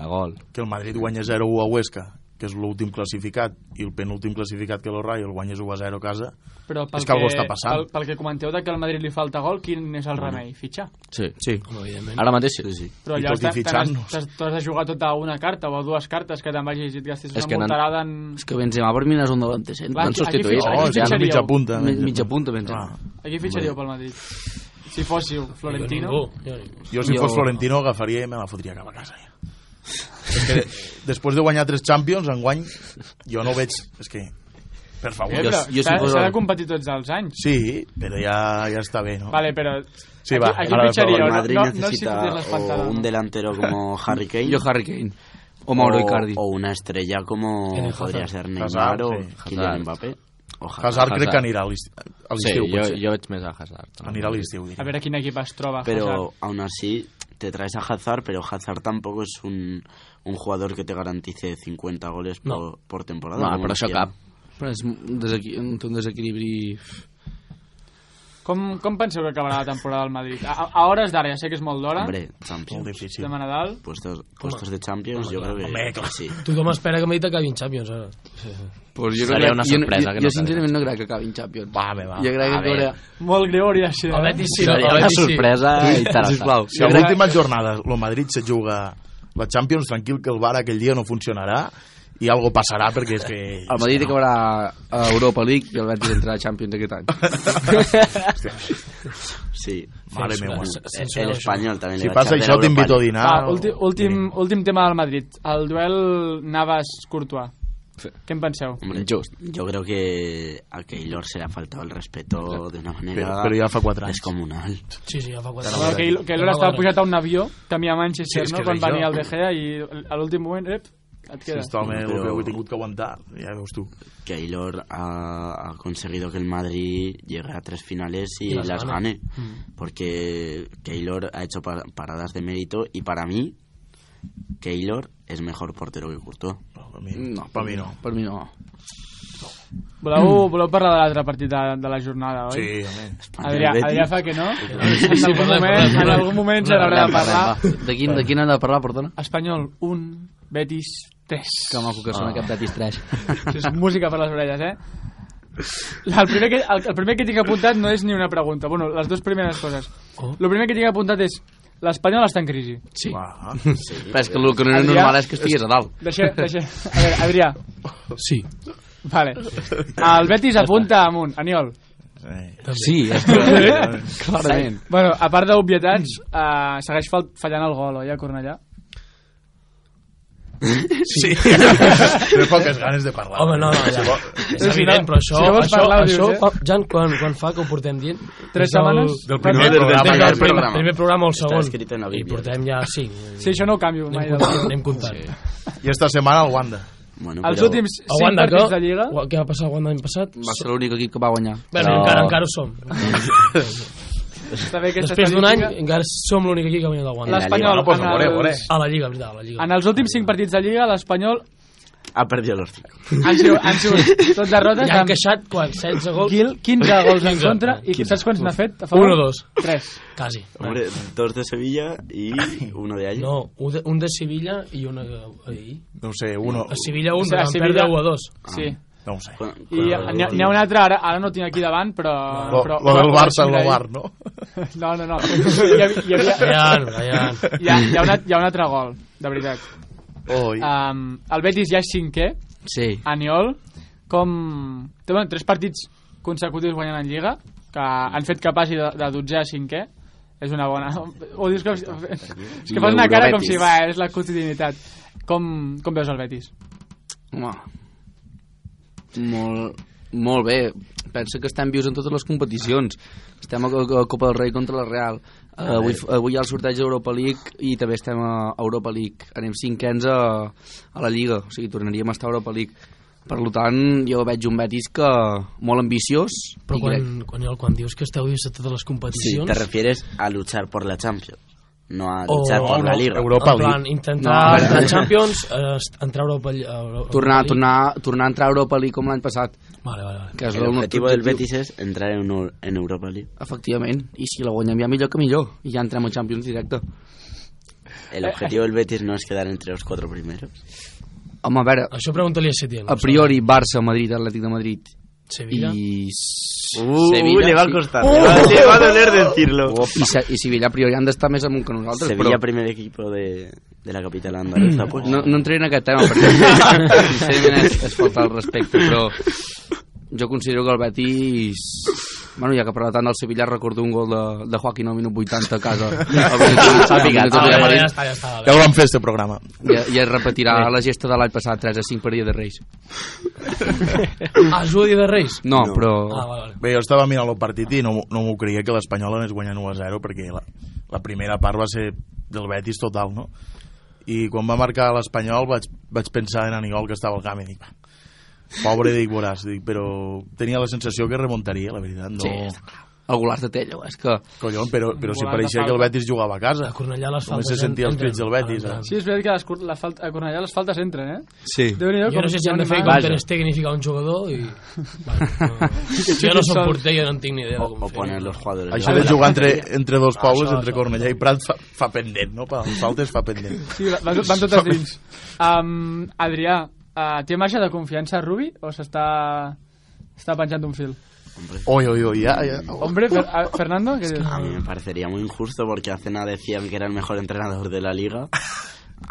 F: de gol.
E: que el Madrid guanya 0-1 a Huesca que és l'últim classificat i el penúltim classificat que és el Rayo el guanyes 1-0 a casa
A: Però pel
E: és que algú està passant.
A: Pel, pel que comenteu de que al Madrid li falta gol, quin és el remei? Fitxar.
F: Sí.
D: Sí.
B: Home, evidentment.
F: Ara mateix sí.
C: Sí.
A: Però
E: I
A: allà
E: tot i
A: t'has-
E: fitxant-nos.
A: t'has t'has de jugar tota una carta o dues cartes que te'n vagis i et gastis
F: És
A: una
F: que n'han-
A: multarada en...
D: És que Benzema per mi no és un davanter centre.
A: Clar,
D: L'han
A: aquí- aquí
D: substituït.
A: fitxa-
E: oh, és que és
A: fitxaríeu?
E: mitja punta
D: Mi- Mitja punta, Benzema.
A: Aquí fitxaríeu pel Madrid. Si fóssiu Florentino...
B: Jo ningú, jo ningú.
E: jo si
D: Jo-
E: fos Florentino agafaria i me la fotria cap a casa ja. és que després de guanyar tres Champions enguany jo no veig és que per
A: Eh,
E: favor
A: però
D: jo
A: s'ha-
D: suposo-
A: s'ha de competir tots els anys.
E: sí però ja, ja està bé no?
A: Vale, però...
E: Sí, va,
A: Aquí,
E: ara
A: aquí
E: de
A: fitxaria,
C: El
A: no,
C: Madrid
A: no, no si
C: necesita
A: fotés l'espantada.
C: o un delantero como Harry Kane
D: Jo Harry Kane. O Mauro Icardi.
C: o una estrella como
B: Eden Hazard.
C: podría ser
E: Hazard,
C: Neymar o
E: sí.
C: Kylian Mbappé. Ojalá.
E: Hazard crec que
F: Hazard.
E: anirà a l'est- a
F: Sí,
E: l'estiu,
F: jo,
E: potser.
F: jo veig més a Hazard.
E: Anirà a l'estiu,
A: A
E: diria.
A: veure quin equip es troba.
C: Pero
A: Hazard.
C: aún así te traes a Hazard, pero Hazard tampoco es un, un jugador que te garantice 50 goles
B: No.
C: por, por temporada.
F: No,
C: como
F: però això
C: Cristiano.
F: cap.
D: Però és un, desequi un, un desequilibri...
A: Com, com penseu que acabarà la temporada del Madrid? A, a- a hores d'ara, ja sé que és molt d'hora,
C: Hombre, Champions.
E: Molt difícil.
A: estem a Nadal,
C: Puestos, puestos de Champions, yo creo que sí.
B: Tothom espera que Madrid acabi en Champions, eh? ara.
D: Pues jo
F: Seria
D: crec-
F: una
D: jo-
F: sorpresa
D: Jo,
F: que
D: jo,
F: no
D: jo sincerament no crec que acabi en Champions.
F: Va, bé, va.
D: Jo crec que
F: A veure.
D: acabarà...
A: molt greu hauria de ser.
B: El
A: eh?
B: Betis sí,
F: Seria
B: el
F: una
B: Betis sí.
F: sorpresa interessant.
D: Sisplau.
E: Si a l'última jornada el Madrid se juga la Champions, tranquil que el bar aquell dia no funcionarà i algo passarà perquè és que...
D: El Madrid acabarà a Europa League i el Betis entrarà a Champions aquest any.
C: Sí.
E: Mare meva.
C: El, el español
E: pues,
C: también
E: Si
C: le va a
E: passa això
C: echar de la
E: t'invito a
C: Europa League.
B: Ah,
E: dinar.
A: Va,
E: o-
A: últim, Ah, últim, últim tema del Madrid. El duel Navas-Courtois.
F: Sí.
A: Què en penseu?
C: Hombre,
F: Just.
C: Yo creo que a Keylor se le ha faltado el respeto de una manera
E: Però, però ja fa 4 anys.
C: descomunal.
B: Sí, sí, ja fa quatre
A: Però
B: anys.
A: que, que l'hora estava pujat a un avió, camí a Manchester,
B: Sí, és
A: no?
B: que
A: Quan
B: era
A: va venir
B: jo.
A: el De Gea i a l'últim moment, ep, et
E: Sí,
A: queda.
E: Totalment,
C: Però-
E: però... ho he tingut que aguantar, ja veus tu.
C: Keylor ha, ha conseguido que el Madrid llegue a tres finales y,
B: Y las
C: las,
B: gane.
C: gane. Porque Keylor ha hecho pa- paradas de mérito y para mí Keylor es mejor portero que Courtois.
E: No, per mi
D: No,
E: no. Per mi no.
D: Per mi no.
A: Voleu, voleu parlar de l'altre partit de, de la jornada, oi?
E: Sí, home.
A: Adrià,
C: Betis.
A: Adrià fa que no?
B: sí,
A: En algun
B: parlem,
A: moment,
B: parlem,
A: en
B: parlem.
A: algun moment se n'haurà de parlar.
D: De quin, de quin hem de parlar, perdona?
A: Espanyol 1, Betis 3.
D: Que maco que sona aquest Betis 3.
A: Això és música per les orelles, eh? El primer, que, el, el primer que tinc apuntat no és ni una pregunta. Bueno, les dues primeres coses.
B: Oh.
A: El primer que tinc apuntat és l'Espanyol està en crisi.
D: Sí.
E: Ah,
D: Però és que el que no és
A: Adrià-
D: normal és que estigués a dalt.
A: Deixa, deixa. A veure, Adrià.
B: Sí.
A: Vale. El Betis apunta amunt. Aniol.
E: sí.
D: Sí, és que... Clarament.
A: Bueno, a part d'obvietats, eh, segueix fal- fallant el gol, oi, a Cornellà?
E: Sí. Té poques ganes de parlar.
B: Home, no, no, ja.
A: Sí,
B: És
A: sí,
B: evident,
A: no.
B: però això...
A: Si no vols
B: això,
A: parlar, ho dius,
B: això
A: eh?
B: fa, Jan, quan, quan fa que ho portem dient?
A: Tres
B: És el-
A: setmanes?
E: Del primer
B: Del
E: programa.
B: primer,
E: ja.
B: del primer, primer programa o el
C: Està
B: segon.
C: escrit en la
B: I
C: Bíblia.
B: portem ja cinc.
A: Sí, això no ho canvio mai.
B: Anem
A: del
B: comptant,
A: tot.
B: anem comptant.
E: I esta setmana el Wanda.
C: Bueno,
A: Els
C: pero
A: últims
B: El
A: 5
B: Wanda,
A: partits de
B: que,
A: Lliga...
B: què va passar el Wanda l'any passat?
D: Va ser l'únic equip que va guanyar.
B: Bé,
F: Però-
B: encara, encara ho som.
A: Està bé aquesta
B: Després d'un any,
A: estadística.
B: encara som l'únic equip que ha guanyat el Wanda.
A: L'Espanyol...
E: No, pues,
A: en
E: vore,
A: els-
E: vore.
B: A la Lliga, veritat, a la Lliga.
A: En els últims 5 partits de Lliga, l'Espanyol
C: ha perdido los cinco.
A: han sigut, han sigut tot derrotes
B: Ja han
A: amb
B: queixat, quan? 16 gols?
A: Gil, 15 gols en contra i saps quants n'ha fet? a favor?
B: Un o dos.
A: Tres.
B: Quasi.
C: Hombre, dos de Sevilla y uno de allí.
B: No, un de, un de Sevilla i una... Ahir.
E: No ho sé, uno...
B: A Sevilla un,
A: O sigui,
B: però
A: a
B: van
A: Sevilla-
B: perdre 1 a 2.
A: Sí.
E: No ho sé.
C: Cu-
A: I
C: cu-
A: n'hi ha, n'hi ha un altre, ara, ara no ho tinc aquí davant, però...
E: Lo,
A: Ah, però
E: lo del Barça,
A: mira,
E: lo Bar, no?
A: No, no, no. Hi, ha, hi, havia,
B: Brian, Brian.
A: hi, ha, hi, ha una, hi ha un altre gol, de veritat.
E: Oi.
A: Um, el Betis ja és cinquè,
D: Sí.
A: Aniol, com... té, Bueno, tres partits consecutius guanyant en Lliga, que han fet que passi de, de 12 a 5è. És una bona... Ho dius com... si- És que fas una cara com si, va, eh, és la quotidianitat. Com, com veus el Betis?
D: Home, molt, molt bé. Pensa que estem vius en totes les competicions. Estem a, a Copa del Rei contra la Real.
C: Ah,
D: Uh, avui, avui hi ha el sorteig d'Europa League i també estem a Europa League. Anem cinquens a, a la Lliga, o sigui, tornaríem a estar a Europa League. Per lo tant, jo veig un Betis que molt ambiciós.
B: Però
D: i
B: quan,
D: crec-
B: quan, Iol, quan dius que esteu dins de totes les
C: Sí,
B: competicions...
C: te refieres a luchar por la Champions, no a
B: O-
C: luchar por
B: o Oh,
C: la
B: no,
C: Liga.
E: Europa
B: en plan,
E: League.
B: intentar
D: No,
B: entrar
D: però-
B: a Champions, eh, est- entrar a Europa, Lli- a Europa
D: Tornar,
B: League.
D: tornar, tornar a entrar a Europa League com l'any passat,
B: Vale, vale, vale.
D: que és el
C: El
D: nostre
C: objetivo del Betis es entrar en, Eu- en Europa League.
D: Efectivament, i si la guanyem ja millor que millor, i ja entrem a Champions directe.
C: El objetivo del Betis no es quedar entre los cuatro primeros.
D: Home, a veure,
B: Això pregunta-li a Setién.
D: a priori Barça, Madrid, Atlètic de Madrid
B: Sevilla.
D: i
C: Uh,
D: Sevilla,
C: le va a
D: sí.
C: costar, le, va, le va a doler decirlo.
D: i, Se i Sevilla a priori han d'estar més amunt que nosaltres,
C: Sevilla,
D: però
C: primer equipo de, de la capital andaluza, pues.
D: no, no entraré en aquest tema, perquè sincerament és, és faltar el respecte, però jo considero que el Betis... Bueno, ja que parla tant del Sevilla, recordo un gol de, de Joaquín al minut 80 a casa. Al minut- al minut
B: Ah, vale, vale,
D: Madrid.
B: ja està, ja està.
E: Ja ho vam fer, este programa.
D: I, I es repetirà la gesta de l'any passat, 3 a 5 per dia de Reis.
B: Ah, es jugui de Reis?
D: No, no. però...
B: Ah, vale, vale.
E: Bé, jo estava mirant el partit i no, m'ho- no m'ho creia que l'Espanyol anés guanyant 1 a 0 perquè la, la primera part va ser del Betis total, no? I quan va marcar l'Espanyol vaig, vaig pensar en Anigol que estava al camp i dic, va, Pobre Dick Boràs, dic, però tenia la sensació que remuntaria, la veritat. No.
D: Sí, està clar. El golaç de Tello, és que...
E: Collons, però, però si
A: Volant de
E: pareixia que el
A: falta.
E: Betis jugava a casa.
B: A Cornellà les
E: Només
B: faltes...
E: se sentia els
B: entren-
E: crits del Betis.
B: entren.
E: Eh?
A: Sí, és veritat que les, cur- la falta, a Cornellà les faltes entren, eh?
F: Sí.
A: Déu-n'hi-do,
B: Jo no sé si han de fer com
A: Vaja.
B: Ter Stegen i ficar un jugador i... Bueno, no. Jo no soc porter, jo no en tinc ni idea de
C: O,
B: com
C: o poner los jugadores.
E: Això de jugar entre, entre dos pobles, entre Cornellà i Prat, fa, fa pendent, no? Per les faltes fa pendent.
A: Sí, va- van, van totes dins. Um, Adrià, uh, té marxa de confiança Rubi o s'està està penjant d'un fil?
E: Oi, oi, oi, ja, ja.
A: Hombre, Fer, a, Fernando, què dius?
C: A mí me parecería muy injusto porque hace nada decían que era el mejor entrenador de la liga.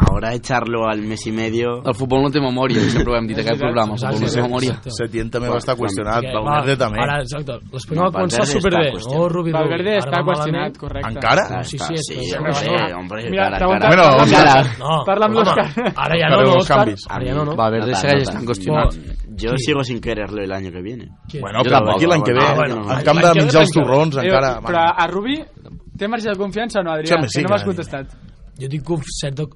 C: Ahora echarlo al mes y medio.
D: El futbol no té memòria, i sempre ho hem dit, aquest programa, el futbol no té memòria.
E: Setién també va estar
B: Perquè,
E: qüestionat,
B: va,
E: Valverde també.
B: Ara, exacte, l'Espanyol
C: No,
B: va començar
C: Valverde
B: superbé.
C: està qüestionat.
B: Oh, Rubi, Rubi.
A: Valverde
B: Ara
A: està
B: va
A: qüestionat,
B: malament.
A: correcte.
E: Encara?
C: Está,
B: sí,
C: está,
B: sí,
C: sí,
B: sí,
C: hombre,
B: sí.
C: eh, hombre,
A: Mira,
C: cara,
A: pregunta-
C: cara.
E: Bueno,
A: pregunta-
B: No,
A: Parla amb
B: home,
A: l'Òscar.
B: Ara ja no,
E: Parla amb
B: no,
E: els
B: Òscar.
E: canvis.
B: Ara ja no, no.
D: Va, Valverde
C: Nota,
D: segueix
C: nota.
D: estant qüestionat.
C: Yo sigo sin quererlo el año que viene.
B: Qui-
E: Bueno,
C: Jo
E: però
C: tampoc,
E: aquí l'any que ve,
C: ah,
E: bueno,
C: bueno,
E: en
C: l'any
E: camp de
B: que ve,
E: menjar els
B: l'any que ve.
E: torrons,
A: Eh,
E: encara...
A: Però
E: va.
A: a Rubi té marxa de confiança o no, Adrià?
E: Sembla sí
A: que no
E: que
A: m'has
E: Adrià.
A: contestat.
B: Jo tinc com certa...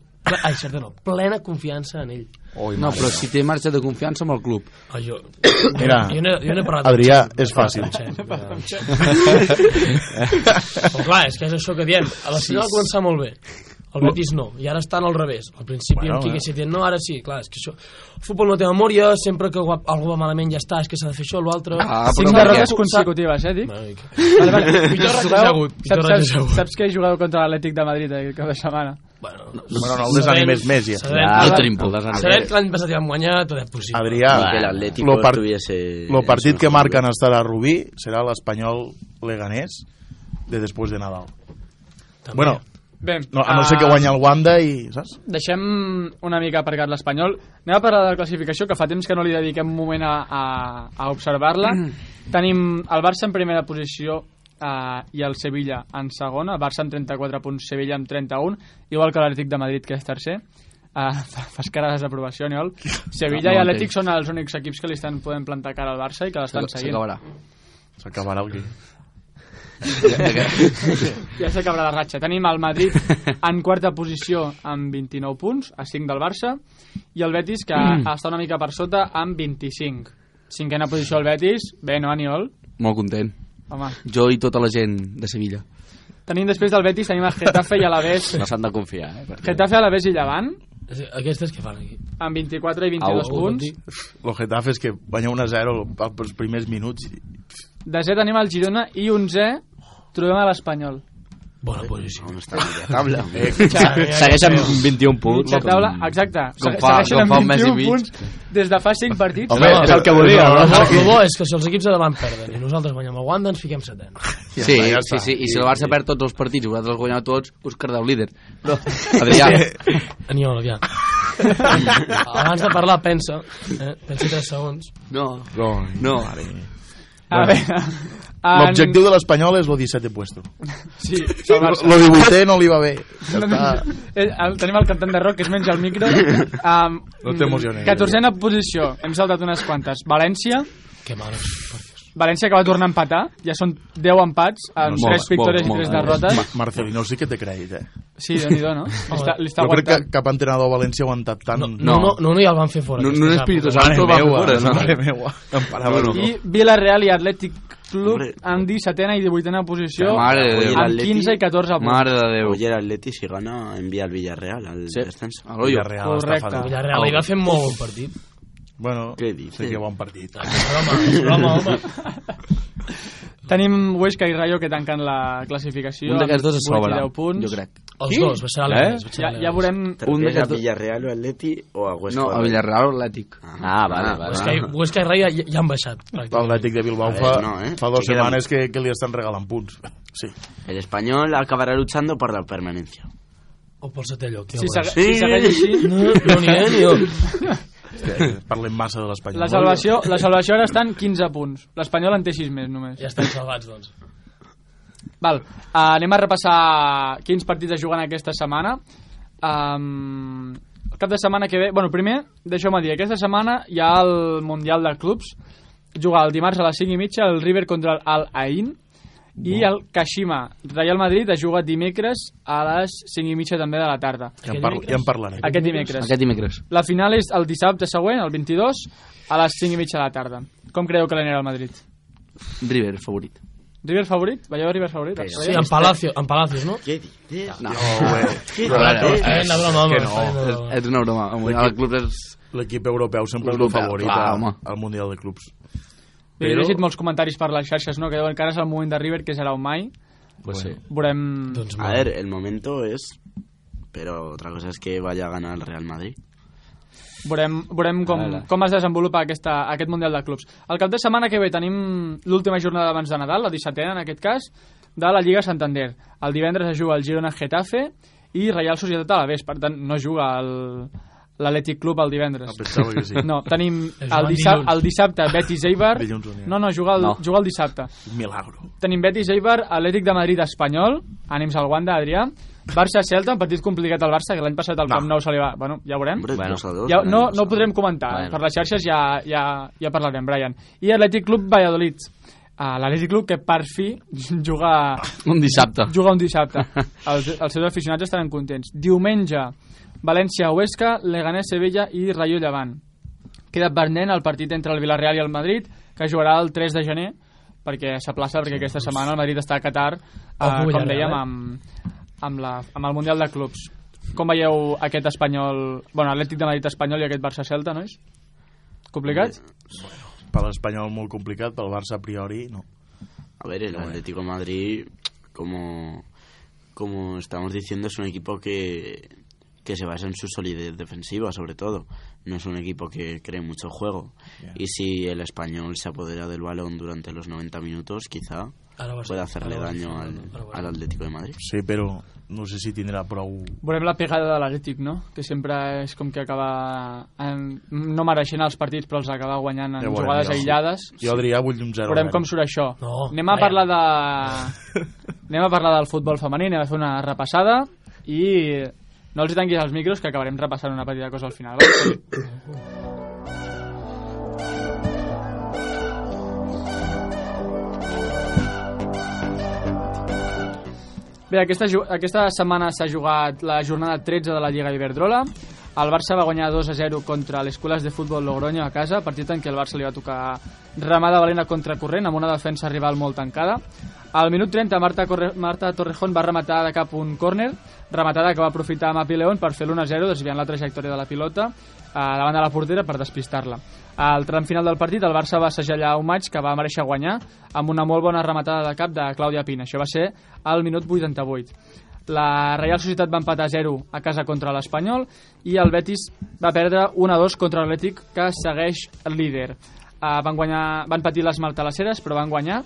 B: Ai, certa no. Plena confiança en ell.
E: Oi,
D: No,
E: mare.
D: però si té marxa de confiança amb el club.
B: Ah, jo...
E: Mira,
B: jo no, jo no he parlat
E: Adrià,
B: amb Xep,
E: és fàcil.
B: amb Xep, ja. Eh, Però clar, és que és això que diem. A la final va començar molt bé. El Betis no, i ara estan al revés. Al principi
E: Bueno,
B: bueno, en Quique
E: eh.
B: Setién no, ara sí, clar, és que això... El futbol no té memòria, sempre que guap, algú va malament ja està, és que s'ha de fer això, l'altre...
D: Ah, però
A: Cinc
D: per
A: derrotes
D: què?
A: consecutives, eh, dic?
B: Bueno, i-
A: Vale, vale.
B: Pitjor
A: Saps-
B: reconegut, pitjor
A: saps- saps-
B: reconegut.
A: Saps que he jugat contra l'Atlètic de Madrid aquest cap de setmana?
B: Bueno, no,
E: Bueno, no el desanimes més, ja.
B: Sabem,
F: Ah,
B: sabem,
D: tenim por.
F: Totes
B: sabem que l'any passat ja doncs, vam guanyar, tot és possible.
E: Adrià,
C: Y que el Atlético
E: lo, par
C: estuviese
E: lo
C: en
E: partit
C: su
E: que
C: mejor
E: marquen estar a Rubí serà l'Espanyol Leganés de després de Nadal.
B: També.
E: Bueno,
A: Bé,
E: no, a no ser que
A: ah,
E: guanya el Wanda i, saps?
A: Deixem una mica aparcat l'Espanyol. Anem a parlar de la classificació, que fa temps que no li dediquem un moment a, a, a observar-la.
D: Mm.
A: Tenim el Barça en primera posició eh, i el Sevilla en segona. Barça amb 34 punts, Sevilla amb 31, igual que l'Atlètic de Madrid, que és tercer. Uh, fas cara de desaprovació, Aniol. Sevilla
D: No,
A: i
D: no
A: Atlètic
D: entenc.
A: són els únics equips que li estan podent plantar cara al Barça i que l'estan seguint.
D: S'acabarà.
E: S'acabarà el que...
A: Ja s'acabarà la ratxa. Tenim el Madrid en quarta posició amb 29 punts, a 5 del Barça, i el Betis, que
D: Mm.
A: està una mica per sota, amb 25. Cinquena posició el Betis. Bé, no, Aniol?
D: Molt content.
A: Home.
D: Jo i tota la gent de Sevilla.
A: Tenim després del Betis, tenim el Getafe i Alavés.
F: No s'han de confiar, eh? perquè-
A: Getafe, Alavés i Llevant,
B: Aquestes que fan aquí?
A: amb 24 i 22
D: Au,
A: Au,
D: au,
A: punts.
E: Lo Getafe és que guanya 1 a 0 els primers minuts. i-
A: Desè tenim el Girona i 11 trobem a l'Espanyol.
B: Bona posició.
C: Aún está en la tabla.
E: Eh,
F: Segueix amb 21 punts.
A: Mitja taula, exacte.
D: com
A: Se-
D: fa-
A: segueixen
D: com
A: amb
D: fa un mes i
A: 21
D: mig.
A: punts des de fa 5 partits.
E: Home, és el que volia,
B: El bo,
E: no?
B: el bo és que si els equips de davant perden i nosaltres guanyem el Wanda ens fiquem setena.
D: Sí, sí,
E: ja
D: sí,
E: està.
D: sí. I si el Barça perd tots els partits i vosaltres els guanyeu tots, us quedeu líder. Però, Adrià,
B: Aniol, aviam. Abans de parlar, pensa. Eh? Pensa 3 segons.
D: no,
E: No.
D: no.
A: A veure... Ah, en-
E: L'objectiu de l'Espanyol és lo 17 puesto.
A: Sí, el Barça.
E: Lo 18 no li va bé. Ja està.
A: Eh, el, tenim el cantant de rock que es menja el micro um,
E: No t'emocionis.
A: 14a posició hem saltat unes quantes València
B: Que mal.
A: València que va tornar a empatar ja són 10 empats amb
D: Molt
A: 3
D: bé,
A: victòries
D: molt,
A: i 3
D: molt bé.
A: derrotes
E: Ma- Marcelino sí que té crèdit, eh?
A: sí, déu nhi no? Li està, li està
E: Jo crec que
A: aguantant
E: cap entrenador a València ha aguantat tant...
B: No, no, no, no ja el van fer fora.
D: No,
B: aquesta
D: no
B: etapa.
D: Espíritu
E: Mare
D: Santo va fer
E: meua,
D: fora, no?
E: mare meua. Em parava.
D: No, no.
A: i Villarreal i Atlètic Club
C: Hombre.
A: en 17a i 18a posició
D: Mare de Déu.
A: amb 15 i 14 punts
D: Mare de Déu.
C: Oye, el Atleti si gana envía al Villarreal al
D: Sí.
C: descenso.
D: A l'Oyo.
E: Villarreal està
A: Correcte.
E: fatal.
B: Villarreal hi va fer molt bon partit.
E: Bueno,
C: Què dices?
E: sí que bon partit.
B: Broma, broma, home.
A: tenim Huesca i Rayo que tanquen la classificació
D: Un d'aquests
A: amb
D: dos es
A: 8 i
D: sobra,
A: 10 punts.
D: jo crec.
B: Els dos, baixarà
D: Eh?
B: l'Enes.
A: ja,
B: baixarà
A: ja
B: l'Enes.
A: veurem
C: Un
D: de
C: a
D: cada-
C: Villarreal o Atleti o a Huesca?
D: No, a Villarreal o Atlètic.
F: Ah, vale, vale.
B: Huesca i- Huesca i Rai ja, ja han baixat. pràcticament.
E: L'Atlètic de Bilbao
C: A
E: fa,
C: veure, no, eh?
E: fa dues
C: Que queda-
E: setmanes que, que li estan regalant punts. Sí.
C: El español acabará luchando por la permanencia.
B: O pel setè lloc. Ja
A: si,
B: veuràs.
A: segueix, si segueix així
B: No, no n'hi ha ni un.
E: Hòstia, Parlem massa de l'Espanyol.
A: La salvació, la salvació ara està en 15 punts. L'Espanyol en té 6 més només.
B: Ja estan salvats, doncs.
A: Val, uh, anem a repassar quins partits es juguen aquesta setmana. Um, el cap de setmana que ve... Bueno, primer, deixeu-me dir, aquesta setmana hi ha el Mundial de Clubs. Juga el dimarts a les 5 i mitja el River contra el Al Ain I el Kashima, Real Madrid, es juga dimecres a les 5 i mitja també de la tarda.
E: Ja en, parla, ja en parlarem.
A: Aquest dimecres.
F: Aquest dimecres.
A: La final és el dissabte següent, el 22, a les 5 i mitja de la tarda. Com creieu que l'anirà el Madrid?
D: River, favorit.
A: River favorit? Veieu River favorit? Els
B: Sí, en Palacio, en Palacios, no?
C: ¿Qué dices?
D: No,
C: ¿Qué dices?
B: Eh, la broma, home.
E: que no.
D: és,
B: està
D: Eh,
B: dient-
D: és una broma. Avui, el club és...
E: L'equip europeu sempre és el
D: Europeu,
E: favorit
D: clar,
E: a-
D: home.
E: al Mundial de Clubs.
A: He
E: Però-
A: llegit molts comentaris per les xarxes, no? Que diuen que ara és el moment de River, que serà un mai.
F: Pues sí.
A: Veurem...
B: Doncs
C: A
B: molt.
C: ver, el momento es... Pero otra cosa es que vaya a ganar el Real Madrid.
A: Veurem, veurem com,
F: Ara.
A: com es desenvolupa aquesta, aquest Mundial de Clubs. El cap de setmana que ve tenim l'última jornada abans de Nadal, la 17a en aquest cas, de la Lliga Santander. El divendres es juga el Girona Getafe i Reial Societat a la vez. Per tant, no juga el- l'Atlètic Club el divendres.
E: Em pensava que sí.
A: No, tenim
B: Es
A: el,
B: juguen
A: dissab
B: dilluns.
A: el dissabte Betis Eibar.
E: Dilluns on hi ha.
A: No, no, juga el,
F: No.
A: juga el dissabte.
E: Un milagro.
A: Tenim Betis Eibar, Atlètic de Madrid Espanyol, ànims al Wanda, Adrià. Barça Celta, un partit complicat al Barça, que l'any passat al Camp Nou se li va... Bueno, ja ho veurem.
C: Hombre,
F: Bueno.
C: dos a dos,
A: Ja,
C: ganan
A: no,
C: dos
A: no
C: a
A: ho podrem comentar,
F: Bueno.
A: per les xarxes ja, ja, ja parlarem, Brian. I Atlètic Club Valladolid. Ah, L'Atlètic Club que per fi juga,
D: Un dissabte.
A: juga un dissabte. Els, els seus aficionats estaran contents. Diumenge, València-Huesca, Leganés-Sevilla i Rayo Llevant. Queda pendent el partit entre el Villarreal i el Madrid, que jugarà el 3 de gener, perquè s'aplaça, perquè aquesta setmana el Madrid està a Qatar, eh,
B: Ojo,
A: com
B: Villarreal,
A: dèiem,
B: eh?
A: amb, amb, la, amb el Mundial de Clubs. Com veieu aquest espanyol... Bueno, Atlètic de Madrid espanyol i aquest Barça-Celta, nois? Complicat?
E: Per l'Espanyol molt complicat, pel Barça a priori no.
C: A ver, el Atlético de Madrid, como, como estamos diciendo, es un equipo que, que se basa en su solidez defensiva, sobre todo. No es un equipo que cree mucho juego. Y si el español se apodera del balón durante los 90 minutos, quizá
B: Ara vas-
C: pueda hacerle
B: ara vas-
C: daño al,
B: ara vas-
C: al Atlético de Madrid.
E: Sí, però no sé si tindrà prou...
A: Veurem la pegada de l'Atlètic, no? Que sempre és com que acaba en, no mereixent els partits, però els acaba guanyant en
E: Ja ho veurem,
A: jugades
E: ja.
A: aïllades.
E: Jo, Adrià, vull un 0.
A: Veurem com surt això.
B: No,
A: anem a
B: vaja.
A: parlar de... anem a parlar del futbol femení, anem a fer una repassada i no els hi tanquis els micros que acabarem repassant una petita cosa al final. Va? Bé, aquesta, ju- aquesta setmana s'ha jugat la jornada 13 de la Lliga Iberdrola. El Barça va guanyar 2 a 0 contra les Escoles de Futbol Logroño a casa, partit en què el Barça li va tocar remada valent a contracorrent amb una defensa rival molt tancada. Al minut 30, Marta, Corre Marta Torrejón va rematar de cap un córner, rematada que va aprofitar Mapi León per fer l'1 0, desviant la trajectòria de la pilota eh, davant de la portera per despistar-la. Al tram final del partit, el Barça va segellar un maig que va mereixer guanyar amb una molt bona rematada de cap de Clàudia Pina. Això va ser al minut 88. La Real Societat va empatar 0 a casa contra l'Espanyol i el Betis va perdre 1-2 contra l'Atlètic que segueix líder. Uh, van, guanyar, van patir les maltalaceres però van guanyar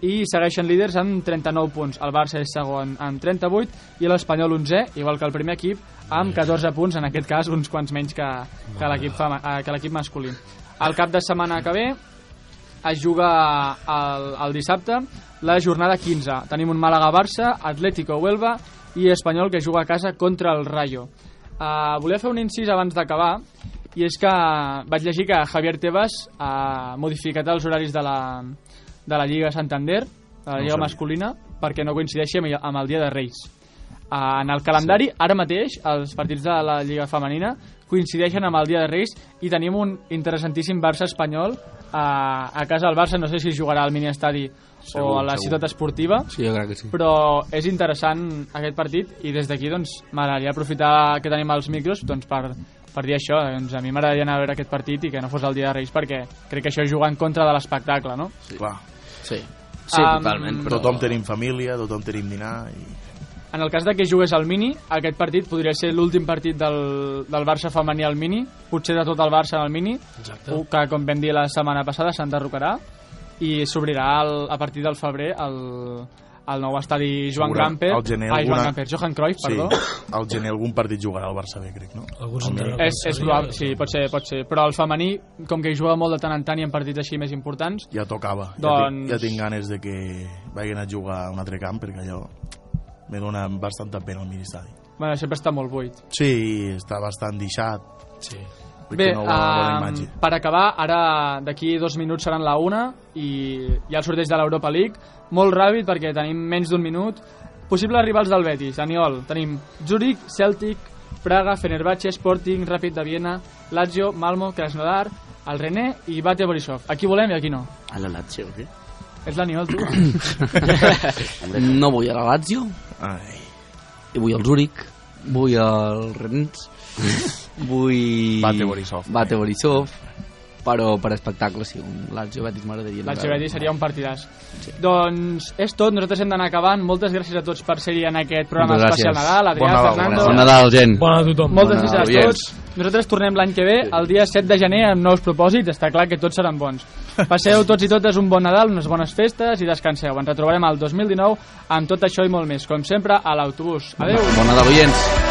A: i segueixen líders amb 39 punts. El Barça és segon amb 38 i l'Espanyol 11, igual que el primer equip, amb 14 punts, en aquest cas uns quants menys que, que l'equip fema- eh, que l'equip masculí. El cap de setmana que ve es juga el, el dissabte la jornada 15. Tenim un Màlaga-Barça, Atlético Huelva i Espanyol que juga a casa contra el Rayo. Uh, volia fer un incís abans d'acabar i és que vaig llegir que Javier Tebas ha modificat els horaris de la, de la Lliga Santander, de la Lliga masculina, perquè no coincideixi amb, amb el Dia de Reis. Uh, en el calendari, sí. ara mateix, els partits de la Lliga Femenina coincideixen amb el Dia de Reis i tenim un interessantíssim Barça espanyol uh, a casa del Barça, no sé si jugarà al miniestadi o a la ciutat esportiva,
D: Sí, jo crec que sí.
A: però és interessant aquest partit i des d'aquí doncs, m'agradaria aprofitar que tenim els micros doncs, per, per dir això. Doncs a mi m'agradaria anar a veure aquest partit i que no fos el dia de Reis perquè crec que això juga en contra de l'espectacle, no?
E: Sí. Clar,
D: Sí, sí
A: Am,
D: totalment. Però...
E: tothom tenim família, tothom tenim dinar i...
A: En el cas de que jugués al Mini, aquest partit podria ser l'últim partit del, del Barça femení al Mini, potser de tot el Barça al Mini,
B: Exacte.
A: un que, com vam dir la setmana passada, s'enderrocarà i s'obrirà el- a partir del febrer el, el nou estadi Joan
E: Segura-
A: Gamper,
E: al gener
A: ai, Joan
E: alguna-
A: Gamper, Johan Cruyff,
E: Sí,
A: perdó.
E: al gener algun partit jugarà al Barça B, crec, no?
B: Algú
E: Al
B: s'entén.
E: Mallorca.
A: És, és probable, sí, pot ser, pot ser. Però el femení, com que hi juga molt de tant en tant i en partits així més importants,
E: Ja tocava.
A: Doncs-
E: Ja, tinc, ja tinc ganes de que vagin a jugar a un altre camp, perquè allò me dona bastanta pena al ministeri.
A: bueno, sempre està molt buit.
E: Sí, està bastant deixat.
B: Sí.
E: Vull
A: Bé,
E: que no bona, bona
A: um,
E: imatge.
A: per acabar, ara d'aquí dos minuts seran la una i hi ha el sorteig de l'Europa League. Molt ràpid perquè tenim menys d'un minut. Possibles rivals del Betis, Aniol. Tenim Zurich, Celtic, Praga, Fenerbahce, Sporting, Rapid de Viena, Lazio, Malmo, Krasnodar, el René i Bate Borisov. Aquí volem i aquí no.
C: A la Lazio, ¿qué?
A: És l'Aniol, tu.
D: No vull a la Lazio,
E: Ai.
D: i vull al Zúrich, vull al Rennes, vull...
E: Bate Borisov.
D: Bate Borisov, però per espectacle, sí, un Lazio Betis m'agradaria.
A: La Xavier seria un partidàs. Doncs és tot, nosaltres hem d'anar acabant. Moltes gràcies a tots per ser-hi en aquest programa
F: Moltes
A: especial
F: gràcies.
A: Nadal. Adrià,
E: Bon Nadal,
A: Fernando...
F: Bon Nadal, gent.
B: Bona a tothom.
A: Moltes
F: Bona
A: gràcies a tots.
F: audiència.
A: Nosaltres tornem l'any que ve, el dia 7 de gener, amb nous propòsits. Està clar que tots seran bons. Passeu tots i totes un bon Nadal, unes bones festes i descanseu. Ens retrobarem al 2019 amb tot això i molt més. Com sempre, a l'autobús. Adeu!
D: Bona de l'oients.